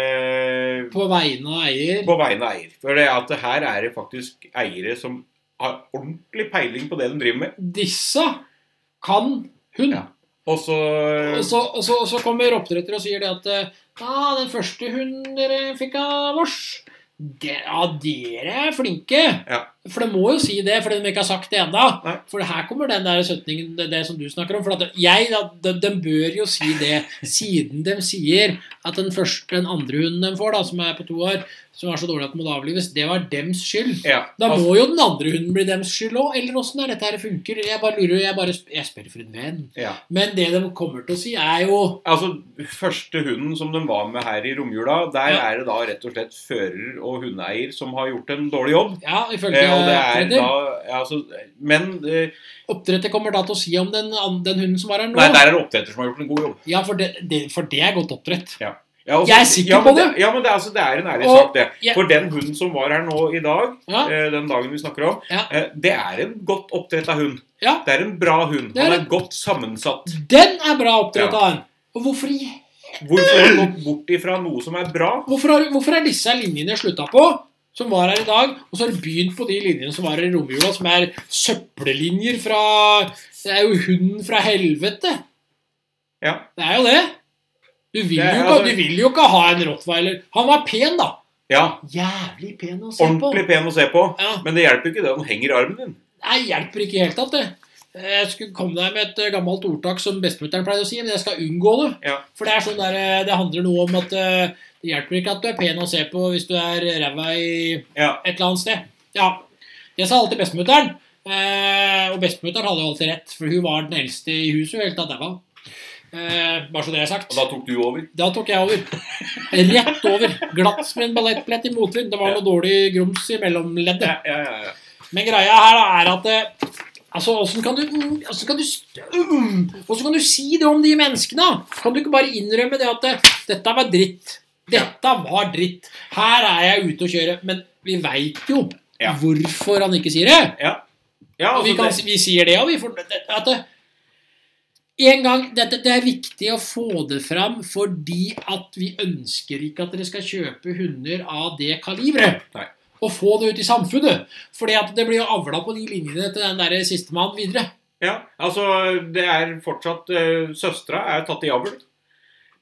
S1: eh,
S2: På vegne av eier.
S1: på vegne av eier. For det at her er det faktisk eiere som har ordentlig peiling på det de driver med.
S2: Disse kan hund.
S1: Ja. Og så
S2: Og, så, og, så, og så kommer oppdretter og sier det at eh, ah, 'Den første hunden dere fikk av oss' det, Ja, dere er flinke.
S1: Ja.
S2: For de må jo si det, fordi de ikke har sagt det ennå.
S1: Nei.
S2: For her kommer den der setningen det, det som du snakker om. For at jeg, da, de, de bør jo si det, siden de sier at den første, den andre hunden de får, da, som er på to år, som er så dårlig at den må avlives, det var dems skyld.
S1: ja,
S2: Da
S1: altså,
S2: må jo den andre hunden bli deres skyld òg, eller åssen er dette her funker? Jeg bare lurer, jeg bare sp- jeg spør for en venn.
S1: ja.
S2: Men det de kommer til å si, er jo
S1: Altså, Første hunden som de var med her i romjula, der
S2: Ja.
S1: er det da rett og slett fører og hundeeier som har gjort en dårlig jobb.
S2: Ja, ifølge
S1: Eh, og det er da
S2: oppdretter.
S1: ja, altså, Men eh,
S2: Oppdretter kommer da til å si om den, an- den hunden som var her nå.
S1: Nei, der er det oppdretter som har gjort en god jobb.
S2: Ja, for det, det, for det er godt oppdrett.
S1: Ja, og-
S2: Jeg er sikker
S1: ja, men
S2: på det.
S1: Ja, men det, er- altså, det er en ærlig
S2: Og-
S1: sak, det.
S2: ja.
S1: For den hunden som var her nå i dag,
S2: Ja.
S1: eh, den dagen vi snakker om,
S2: Ja.
S1: eh, det er en godt oppdretta hund.
S2: Ja.
S1: Det er en bra hund.
S2: Det er
S1: Han er
S2: det.
S1: godt sammensatt.
S2: Den er bra oppdrett
S1: Ja.
S2: av den. Og hvorfor, i-
S1: Hvorfor har han gått bort ifra noe som er bra?
S2: hvorfor, har, hvorfor er disse linjene slutta på? Som var her i dag, og så har de begynt på de linjene som var her i romjula, som er søppellinjer fra Det er jo hunden fra helvete.
S1: Ja.
S2: Det er jo det. Du vil,
S1: Det er- altså-
S2: jo, ikke, du vil jo ikke ha en rottweiler. Han var pen, da.
S1: ja
S2: Jævlig pen å se
S1: ordentlig pen å se på.
S2: på. Ja.
S1: Men det hjelper jo ikke det han henger i armen din.
S2: Nei, hjelper ikke i det hele tatt, det. Jeg skulle komme deg med et eh, gammelt ordtak som bestemutteren pleide å si, men jeg skal unngå det.
S1: Ja.
S2: For det er sånn der, eh, det handler noe om at eh, det hjelper ikke at du er pen å se på hvis du er ræva i
S1: Ja.
S2: et eller annet sted. Ja. Det sa alltid bestemutteren. Eh, og bestemutteren hadde jo alltid rett, for hun var den eldste i huset. Helt tatt, ræva. eh, bare så det er
S1: Og
S2: sagt.
S1: da tok du over.
S2: Da tok jeg over. Rett over. Glatt som en ballettplett i motvind. Det var noe dårlig grums i mellomleddet.
S1: Ja, ja, ja, ja.
S2: Men greia her da er at eh, Altså, Åssen kan, du- mm, hvordan kan, du st- mm, hvordan kan du si det om de menneskene? Kan du ikke bare innrømme det at eh, dette var dritt? Dette var dritt. Her er jeg ute og kjører. Men vi veit jo
S1: Ja.
S2: hvorfor han ikke sier det.
S1: ja
S2: Og vi,
S1: altså,
S2: kan,
S1: det,
S2: si- vi sier det, og vi får det- at det, en gang, dette, det er viktig å få det fram fordi at vi ønsker ikke at dere skal kjøpe hunder av det kaliberet.
S1: Nei.
S2: Og få det ut i samfunnet. Fordi at det blir jo avla på de linjene til den der sistemann videre.
S1: ja, altså, det er fortsatt uh, Søstera er tatt i avl.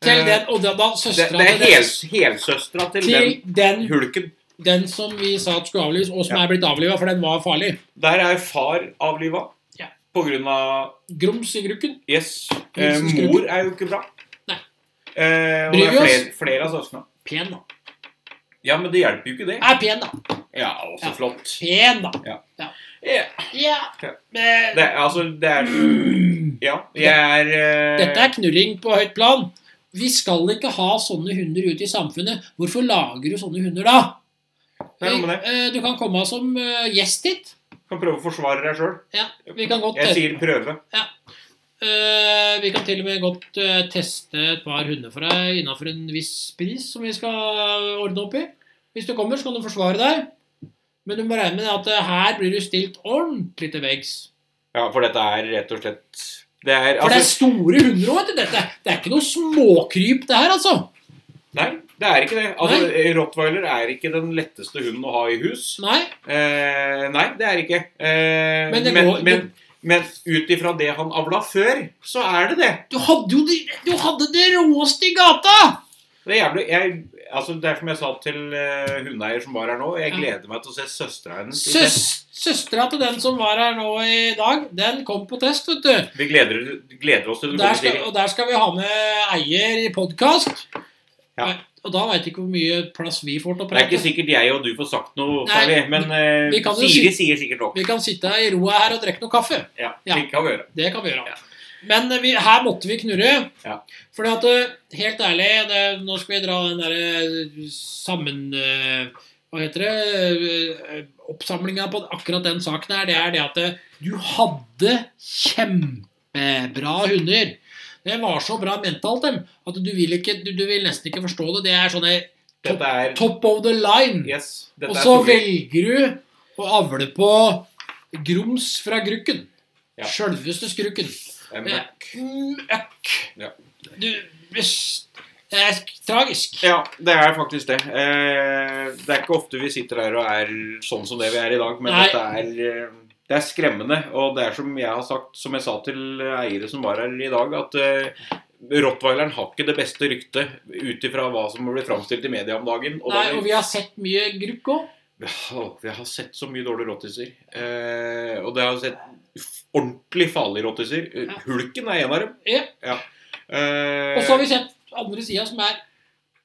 S2: Til
S1: Eh,
S2: den, og da, da
S1: Det,
S2: søstera
S1: det er hel, helsøstera til den
S2: til den
S1: hulken.
S2: Den som vi sa at skulle avlives, og som
S1: Ja.
S2: er blitt avliva, for den var farlig.
S1: Der er far avliva
S2: Ja.
S1: på grunn av
S2: Grums i grukken.
S1: Yes.
S2: Hun
S1: Eh,
S2: som skrur.
S1: mor er jo ikke bra.
S2: Nei.
S1: Eh, og det
S2: Bryr
S1: er
S2: vi oss?
S1: flere, flere av søsknene.
S2: Pen, da.
S1: Ja, men det hjelper jo ikke det.
S2: Er pen, da.
S1: Ja, også
S2: Ah. Ja.
S1: flott.
S2: Pen, da.
S1: Ja.
S2: Ja.
S1: Ja.
S2: Men-
S1: Det, er- altså, det er Ja, jeg er eh,
S2: Dette er knurring på høyt plan. Vi skal ikke ha sånne hunder ute i samfunnet. Hvorfor lager du sånne hunder da?
S1: Det er noe med det.
S2: Eh, Du kan komme som eh, gjest hit.
S1: Kan prøve å forsvare deg sjøl.
S2: Ja, vi kan godt
S1: Jeg
S2: teste.
S1: sier prøve.
S2: Eh, vi kan til og med godt eh, teste et par hunder for deg innafor en viss pris som vi skal eh, ordne opp i. Hvis du kommer, så kan du forsvare deg. Men du må regne med at eh, her blir du stilt ordentlig til veggs.
S1: Ja, for dette er rett og slett Det er
S2: For det er
S1: altså
S2: store hunder òg, vet du. Dette. Det er ikke noe småkryp, det her, altså.
S1: Nei, det er ikke det. Altså, Rottweiler er ikke den letteste hunden å ha i hus.
S2: Nei.
S1: Eh, nei, det er ikke. Eh,
S2: Men det
S1: men,
S2: går-
S1: men, men ut ifra det han avla før, så er det det.
S2: Du hadde jo det, du hadde det råeste i gata!
S1: Det er jævlig jeg, altså Det er som jeg sa til eh, hundeeier som var her nå, jeg
S2: Ja.
S1: gleder meg til å se søstera hennes. i
S2: Søs,
S1: test.
S2: søstera til den som var her nå i dag, den kom på test, vet du.
S1: Vi gleder, gleder oss til det
S2: Der
S1: kommer
S2: skal,
S1: til.
S2: og der skal vi ha med eier i podkast.
S1: Ja.
S2: Og da veit jeg ikke hvor mye plass vi får til å
S1: Det er
S2: prate.
S1: ikke sikkert jeg og du får sagt noe
S2: Nei,
S1: særlig, men eh,
S2: vi kan jo
S1: Siri sier sikkert nok.
S2: Vi kan sitte her i roa her og drikke noe kaffe.
S1: Ja,
S2: Ja.
S1: Slik kan vi gjøre.
S2: Det kan vi gjøre.
S1: Ja.
S2: Men eh, vi, her måtte vi knurre.
S1: Ja.
S2: Fordi at, eh, helt ærlig, det, nå skal vi dra den derre sammen... eh, Hva heter det? Oppsamlinga på akkurat den saken her, det er det at eh, du hadde kjempebra hunder. Det var så bra mentalt, dem, at du vil, ikke, du, du vil nesten ikke forstå det. Det er sånne
S1: Dette er
S2: top of the line.
S1: Yes. Dette
S2: Og
S1: er
S2: så
S1: solid.
S2: velger du å avle på grums fra grukken.
S1: Ja.
S2: Sjølveste skrukken.
S1: Det er
S2: Ja.
S1: mørkt.
S2: Møkk.
S1: Ja.
S2: Du hvis- Det er tragisk.
S1: Ja, det er faktisk det. Eh, det er ikke ofte vi sitter her og er sånn som det vi er i dag, men
S2: Nei.
S1: dette er eh, det er skremmende, og det er som jeg har sagt, som jeg sa til eiere som var her i dag, at eh, rottweileren har ikke det beste ryktet ut ifra hva som blir framstilt i media om dagen. Og
S2: Nei,
S1: da,
S2: og vi har sett mye grukk òg.
S1: Åh, jeg har sett så mye dårlige rottiser. Eh, og det har jeg sett ordentlig farlige rottiser. Eh,
S2: Ja.
S1: Hulken er en av dem.
S2: Ja.
S1: Eh,
S2: Og så har vi sett andre sida, som er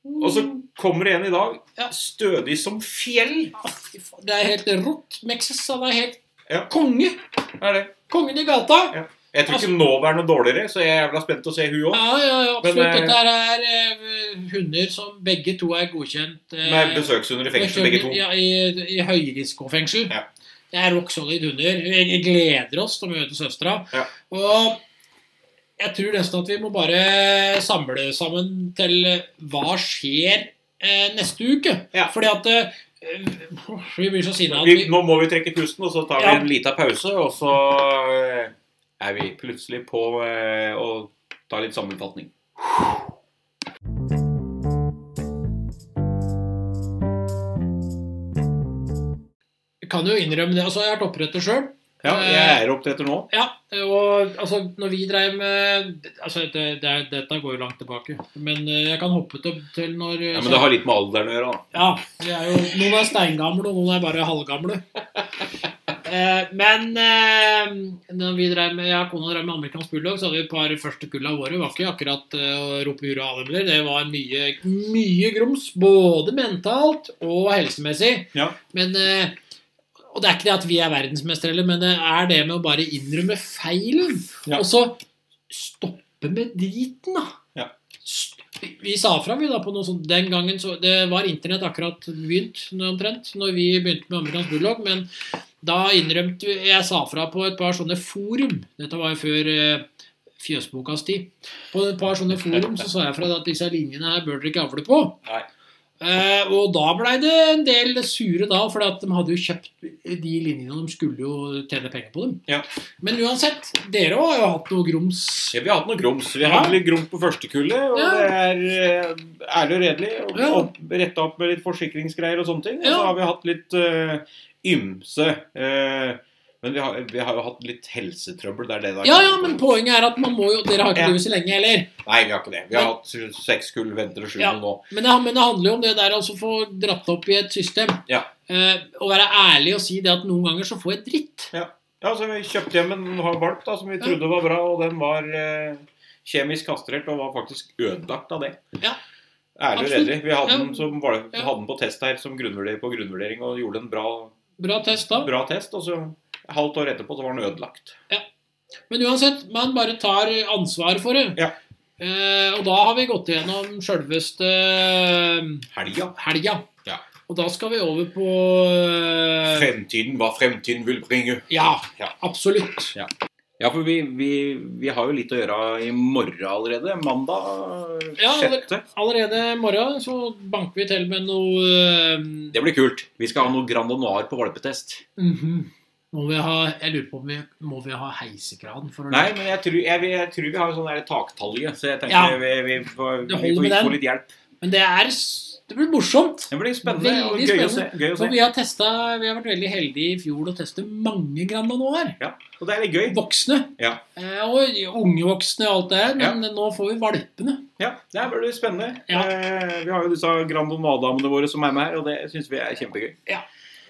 S1: og så kommer det en i dag,
S2: Ja.
S1: stødig som fjell.
S2: Ja, fy faen, Det er helt rått. Mexes han er helt
S1: Ja.
S2: konge.
S1: Er det.
S2: Kongen i gata.
S1: Ja. Jeg tror
S2: Altså-
S1: ikke nå var noe dårligere, så jeg er jævla spent å se hun òg.
S2: Ja, ja, ja absolutt.
S1: Men, eh,
S2: Dette her er eh, hunder som begge to er godkjent eh,
S1: Med besøkshunder i fengsel, begge to.
S2: Ja, i, i høyrisikofengsel.
S1: Ja.
S2: Det er rock solid hunder. Vi vi gleder oss til å møte søstera.
S1: Ja.
S2: Og jeg tror nesten at vi må bare samle sammen til eh, hva skjer eh, neste uke.
S1: Ja.
S2: Fordi at eh, Vi blir så sinna at
S1: Vi,
S2: vi
S1: nå må vi trekke pusten, og så tar vi
S2: Ja.
S1: en liten pause, og så eh, er vi plutselig på eh, å ta litt sammenfatning.
S2: kan jo innrømme det. Altså, jeg har vært oppretter sjøl.
S1: Ja, jeg
S2: Eh,
S1: er oppdretter nå.
S2: Ja, og altså, når vi drev med altså, det, det, er- Dette går jo langt tilbake. Men eh, jeg kan hoppe til, til når eh,
S1: Ja, men det har litt med alderen å gjøre, da.
S2: Ja, vi er jo, noen er steingamle, og noen er bare halvgamle. Eh, men eh, når vi drev med, jeg og kona drev med amerikansk bulldog, så hadde vi et par første kull av året. Det var ikke akkurat eh, å rope hurra og ademler. Det var mye, mye grums, både mentalt og helsemessig.
S1: Ja.
S2: Men, eh, og det er ikke det at vi er verdensmestere, heller, men det er det med å bare innrømme feilen.
S1: Ja.
S2: Og så stoppe med driten, da.
S1: Ja.
S2: St- Vi sa fra vi da på noe sånt den gangen så Det var internett akkurat begynt nå omtrent, når vi begynte med amerikansk bulldog, men da innrømte vi Jeg sa fra på et par sånne forum. Dette var jo før eh, fjøsbokas tid. På et par sånne forum så sa jeg fra at disse linjene her bør dere ikke avle på.
S1: Nei.
S2: Eh, og da blei det en del sure da, for de hadde jo kjøpt de linjene de skulle jo tjene penger på dem.
S1: Ja.
S2: Men uansett, dere har jo hatt noe grums.
S1: Ja, vi har hatt noe grums. Vi
S2: Ja.
S1: hadde litt grums på første kullet, og
S2: Ja.
S1: det er eh, ærlig og redelig. Og
S2: Ja.
S1: opp, retta opp med litt forsikringsgreier og sånne ting. Og
S2: Ja.
S1: så har vi hatt litt eh, ymse eh, Men vi har, vi har jo hatt litt helsetrøbbel. Det er det det er
S2: Ja, ja, men poenget er at man må jo Dere har ikke
S1: Ja.
S2: drevet så lenge heller.
S1: Nei, vi har ikke det. Vi har hatt seks kull, venter og sju
S2: Ja.
S1: nå.
S2: Men det, men det handler jo om det der å altså, få dratt opp i et system.
S1: Ja.
S2: Eh, å være ærlig og si det at noen ganger så får jeg dritt.
S1: Ja, så Vi kjøpte hjem en har- valp da, som vi trodde var bra, og den var eh, kjemisk kastrert og var faktisk ødelagt av det.
S2: Ja.
S1: Ærlig og
S2: Absolutt.
S1: redelig. Vi hadde
S2: Ja.
S1: den, som, var,
S2: Ja.
S1: hadde den på test her som grunnvurder, på grunnvurdering og gjorde en bra,
S2: Bra test, da.
S1: bra test. Og så halvt år etterpå så var den ødelagt.
S2: Men uansett, man bare tar ansvar for det.
S1: Ja.
S2: Eh, og da har vi gått gjennom sjølveste
S1: Helga.
S2: helga.
S1: Ja.
S2: Og da skal vi over på eh,
S1: Fremtiden, hva fremtiden vil bringe.
S2: Ja,
S1: Ja.
S2: absolutt.
S1: Ja, for vi, vi, vi har jo litt å gjøre i morgen allerede. Mandag
S2: Ja, eller-
S1: sjette.
S2: Allerede i morgen så banker vi til med noe eh,
S1: Det blir kult. Vi skal ha noe Grand Noir på valpetest.
S2: mhm. Må vi ha Jeg lurer på om vi må vi ha heisekran for å
S1: Nei, men jeg tror, jeg, jeg tror vi har sånn der taktalje, så jeg tenker
S2: Ja.
S1: vi, vi, får,
S2: Det holder
S1: vi får,
S2: med den.
S1: få litt hjelp.
S2: Men det er s- Det blir morsomt.
S1: Det blir spennende og
S2: Veldig
S1: gøy å se.
S2: spennende.
S1: Gøy å
S2: For
S1: se.
S2: vi har testet, Vi har vært veldig heldige i fjor å teste mange Granda Noir.
S1: Og det er litt gøy.
S2: voksne.
S1: Ja.
S2: Eh, og unge voksne og alt det her, men nå får vi valpene.
S1: Ja, Det blir spennende.
S2: Ja.
S1: Eh, vi har jo disse Grand Noir-damene våre som er med her, og det syns vi er kjempegøy.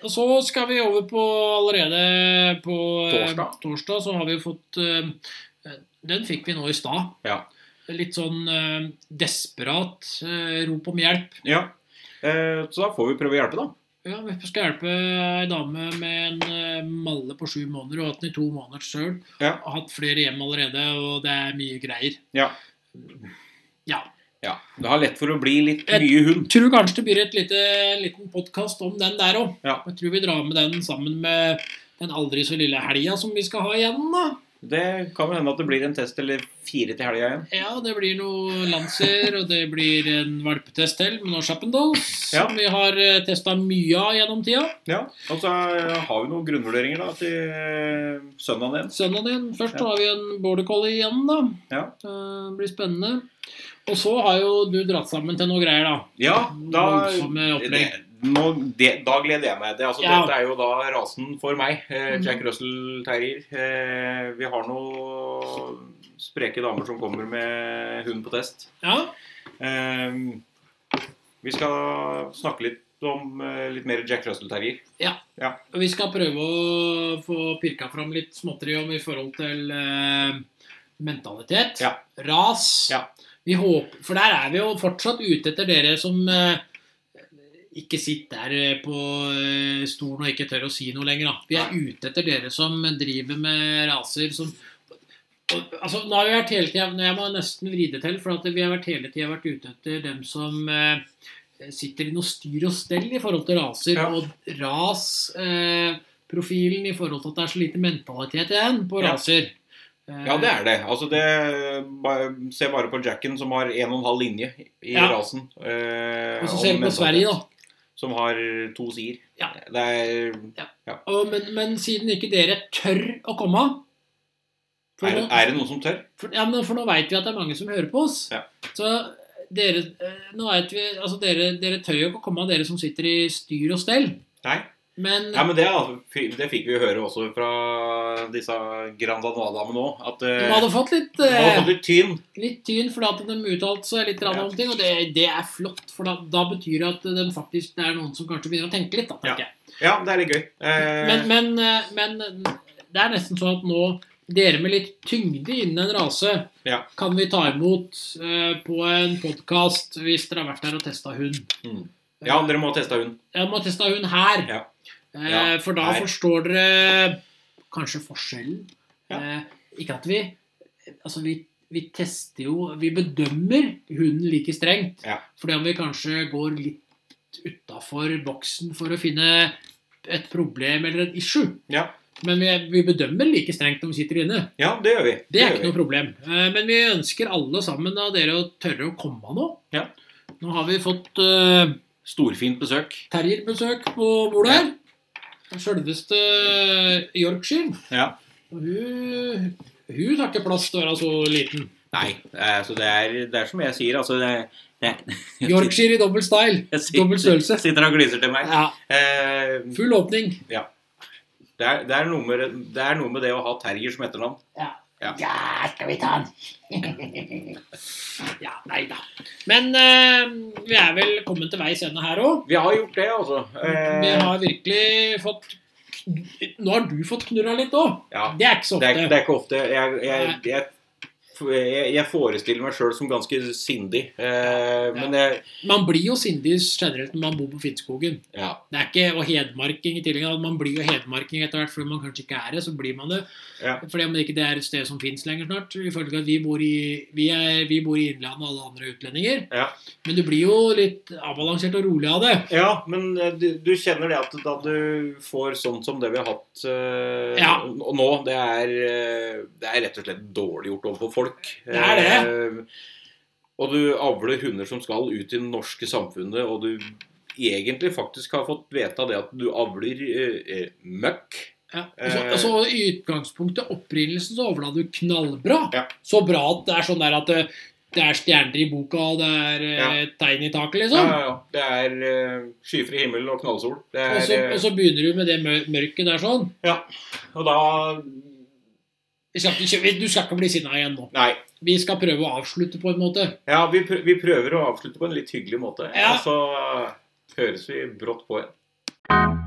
S2: Og så skal vi over på allerede på eh,
S1: Torsdag.
S2: torsdag så har vi fått eh, Den fikk vi nå i stad.
S1: Ja.
S2: Litt sånn eh, desperat eh, rop om hjelp.
S1: Ja. Eh, så da får vi prøve å hjelpe, da.
S2: Ja, Vi skal hjelpe ei dame med en eh, malle på sju måneder og har hatt den i to måneder sjøl.
S1: Ja.
S2: Har Hatt flere hjem allerede, og det er mye greier.
S1: Ja.
S2: Ja.
S1: Ja. Det har lett for å bli litt
S2: Et-
S1: mye hund.
S2: tror kanskje det blir et lite, liten podkast om den der òg.
S1: Ja.
S2: Jeg tror vi drar med den sammen med den aldri så lille helga som vi skal ha igjen. da.
S1: Det kan jo hende at det blir en test eller fire til helga igjen.
S2: Ja, Det blir noe Lancer, og det blir en valpetest til med noen Chappendals.
S1: Ja.
S2: Som vi har testa mye av gjennom tida.
S1: Ja. Og så eh, har vi noen grunnvurderinger da til eh, søndagen igjen.
S2: Søndagen igjen. Først
S1: Ja.
S2: har vi en border collie igjen, da.
S1: Ja.
S2: Det blir spennende. Og så har jo du dratt sammen til noe greier, da.
S1: Ja, da
S2: Voldsomme
S1: det,
S2: opplegg.
S1: nå, det, Da gleder jeg meg. Det, altså,
S2: Ja.
S1: Dette er jo da rasen for meg. Eh,
S2: Mhm.
S1: Jack Russell-terrier. Eh, vi har noen spreke damer som kommer med hund på test.
S2: Ja.
S1: Eh, vi skal snakke litt om eh, litt mer Jack Russell-terrier.
S2: Og Vi skal prøve å få pirka fram litt småtteri om i forhold til eh, mentalitet,
S1: Ja.
S2: ras.
S1: Ja.
S2: Vi håper, for der er vi jo fortsatt ute etter dere som eh, ikke sitter der på eh, stolen og ikke tør å si noe lenger. Da. Vi er ute etter dere som driver med raser som og, altså, nå har vi vært hele tiden, Jeg må nesten vri det til, for at vi har vært hele tida vært ute etter dem som eh, sitter i noe styr og stell i forhold til raser.
S1: Ja.
S2: Og rasprofilen eh, profilen i forhold til at det er så lite mentalitet igjen på
S1: Ja.
S2: raser. Eh,
S1: Ja, det er det. Altså, det bare- Se bare på Jacken, som har 1,5 linje i
S2: Ja.
S1: rasen. Eh,
S2: Og så
S1: om
S2: ser vi på
S1: mentalitet.
S2: Sverige, da.
S1: Som har to sider.
S2: Ja.
S1: Det er,
S2: Og, men, men siden ikke dere tør å komme for
S1: er,
S2: nå-
S1: er det noen som tør?
S2: For, ja, men for nå veit vi at det er mange som hører på oss.
S1: Ja.
S2: Så dere, eh, nå vet vi, altså dere, dere tør jo ikke å komme av dere som sitter i styr og stell.
S1: Nei.
S2: Men,
S1: Ja, men det, altså, fi- det fikk vi jo høre også fra disse Grand Anoa-damene òg. At eh,
S2: de hadde fått litt,
S1: de hadde
S2: eh,
S1: fått litt tyn.
S2: litt tyn fordi at de uttalte seg litt rann
S1: Ja.
S2: om ting. Og det, det er flott, for da, da betyr det at de faktisk, det er noen som kanskje begynner å tenke litt. Da,
S1: Ja.
S2: tenker jeg.
S1: Ja, det er litt gøy. Eh,
S2: Men, men, eh, men det er nesten sånn at nå dere med litt tyngde innen en rase
S1: Ja.
S2: kan vi ta imot eh, på en podkast hvis dere har vært der og testa hund.
S1: Mm. ja, dere må teste hund.
S2: Jeg må teste hun her.
S1: Ja.
S2: Eh,
S1: Ja,
S2: for da
S1: her.
S2: forstår dere kanskje forskjellen.
S1: Ja.
S2: Eh, ikke at vi Altså, vi, vi tester jo Vi bedømmer hunden like strengt.
S1: Ja.
S2: Fordi om vi kanskje går litt utafor boksen for å finne et problem eller et issue.
S1: Ja.
S2: Men vi, vi bedømmer like strengt om vi sitter inne.
S1: Ja, det gjør vi.
S2: Det er
S1: gjør
S2: ikke
S1: vi.
S2: noe problem. Eh, Men vi ønsker alle sammen av dere å tørre å komme nå.
S1: Ja.
S2: Nå har vi fått eh,
S1: Storfint besøk.
S2: terrierbesøk på bordet her. Sjølveste eh, Yorkshire.
S1: Ja.
S2: Og hun, hun tar ikke plass til å være så liten.
S1: Nei, eh, så det er, det er som jeg sier, altså det, det,
S2: Yorkshire i dobbel style.
S1: Jeg
S2: Dobbel
S1: sitter,
S2: størrelse.
S1: sitter og gliser til meg.
S2: Ja,
S1: Eh,
S2: full åpning.
S1: Det er, det, er noe med, det- det er noe med det å ha Terjer som etternavn.
S3: Ja, skal vi ta den?
S2: *laughs* Ja, nei da. Men eh, vi er vel kommet til veis ende her òg.
S1: Vi har gjort det, altså.
S2: Vi
S1: Eh,
S2: har virkelig fått kn- Nå har du fått knurra litt òg.
S1: ja.
S2: Det er ikke så
S1: det,
S2: ofte.
S1: er, det er ikke ofte. Jeg, jeg, jeg, jeg, jeg forestiller meg sjøl som ganske sindig. Eh, men jeg
S2: Man blir jo sindig generelt når man bor på Finnskogen.
S1: Ja.
S2: Det er ikke og hedmarking i tillegg. at Man blir jo hedmarking etter hvert fordi man kanskje ikke er det. så blir man det.
S1: Ja.
S2: Fordi om det ikke det er et sted som fins lenger snart. Ifølge at vi bor i, vi er, vi bor i Innlandet og alle andre er utlendinger.
S1: Ja.
S2: Men du blir jo litt avbalansert og rolig av det.
S1: Ja, men eh, du, du kjenner det at da du får sånt som det vi har hatt eh,
S2: Ja.
S1: n- nå, det er, eh, det er rett og slett dårlig gjort overfor folk.
S2: Det er det.
S1: Eh, og du avler hunder som skal ut i det norske samfunnet, og du egentlig faktisk har fått vite det at du avler eh, eh, møkk.
S2: Ja. Og så,
S1: Eh.
S2: og så I utgangspunktet, opprinnelsen, så overla du knallbra.
S1: Ja.
S2: Så bra at det er sånn der at det, det er stjerner i boka, og det er eh,
S1: Ja.
S2: tegn i
S1: Ja,
S2: taket, liksom.
S1: ja, ja. Det er eh, skyfri himmel og knallsol. Det
S2: Og
S1: er,
S2: så,
S1: eh,
S2: og så begynner du med det mør- mørket der sånn.
S1: og da
S2: Vi skal ikke, vi- du skal ikke bli sinna igjen nå.
S1: Nei.
S2: Vi skal prøve å avslutte på en måte.
S1: Ja, vi, prø- vi prøver å avslutte på en litt hyggelig måte.
S2: Ja.
S1: Og så høres vi brått på igjen.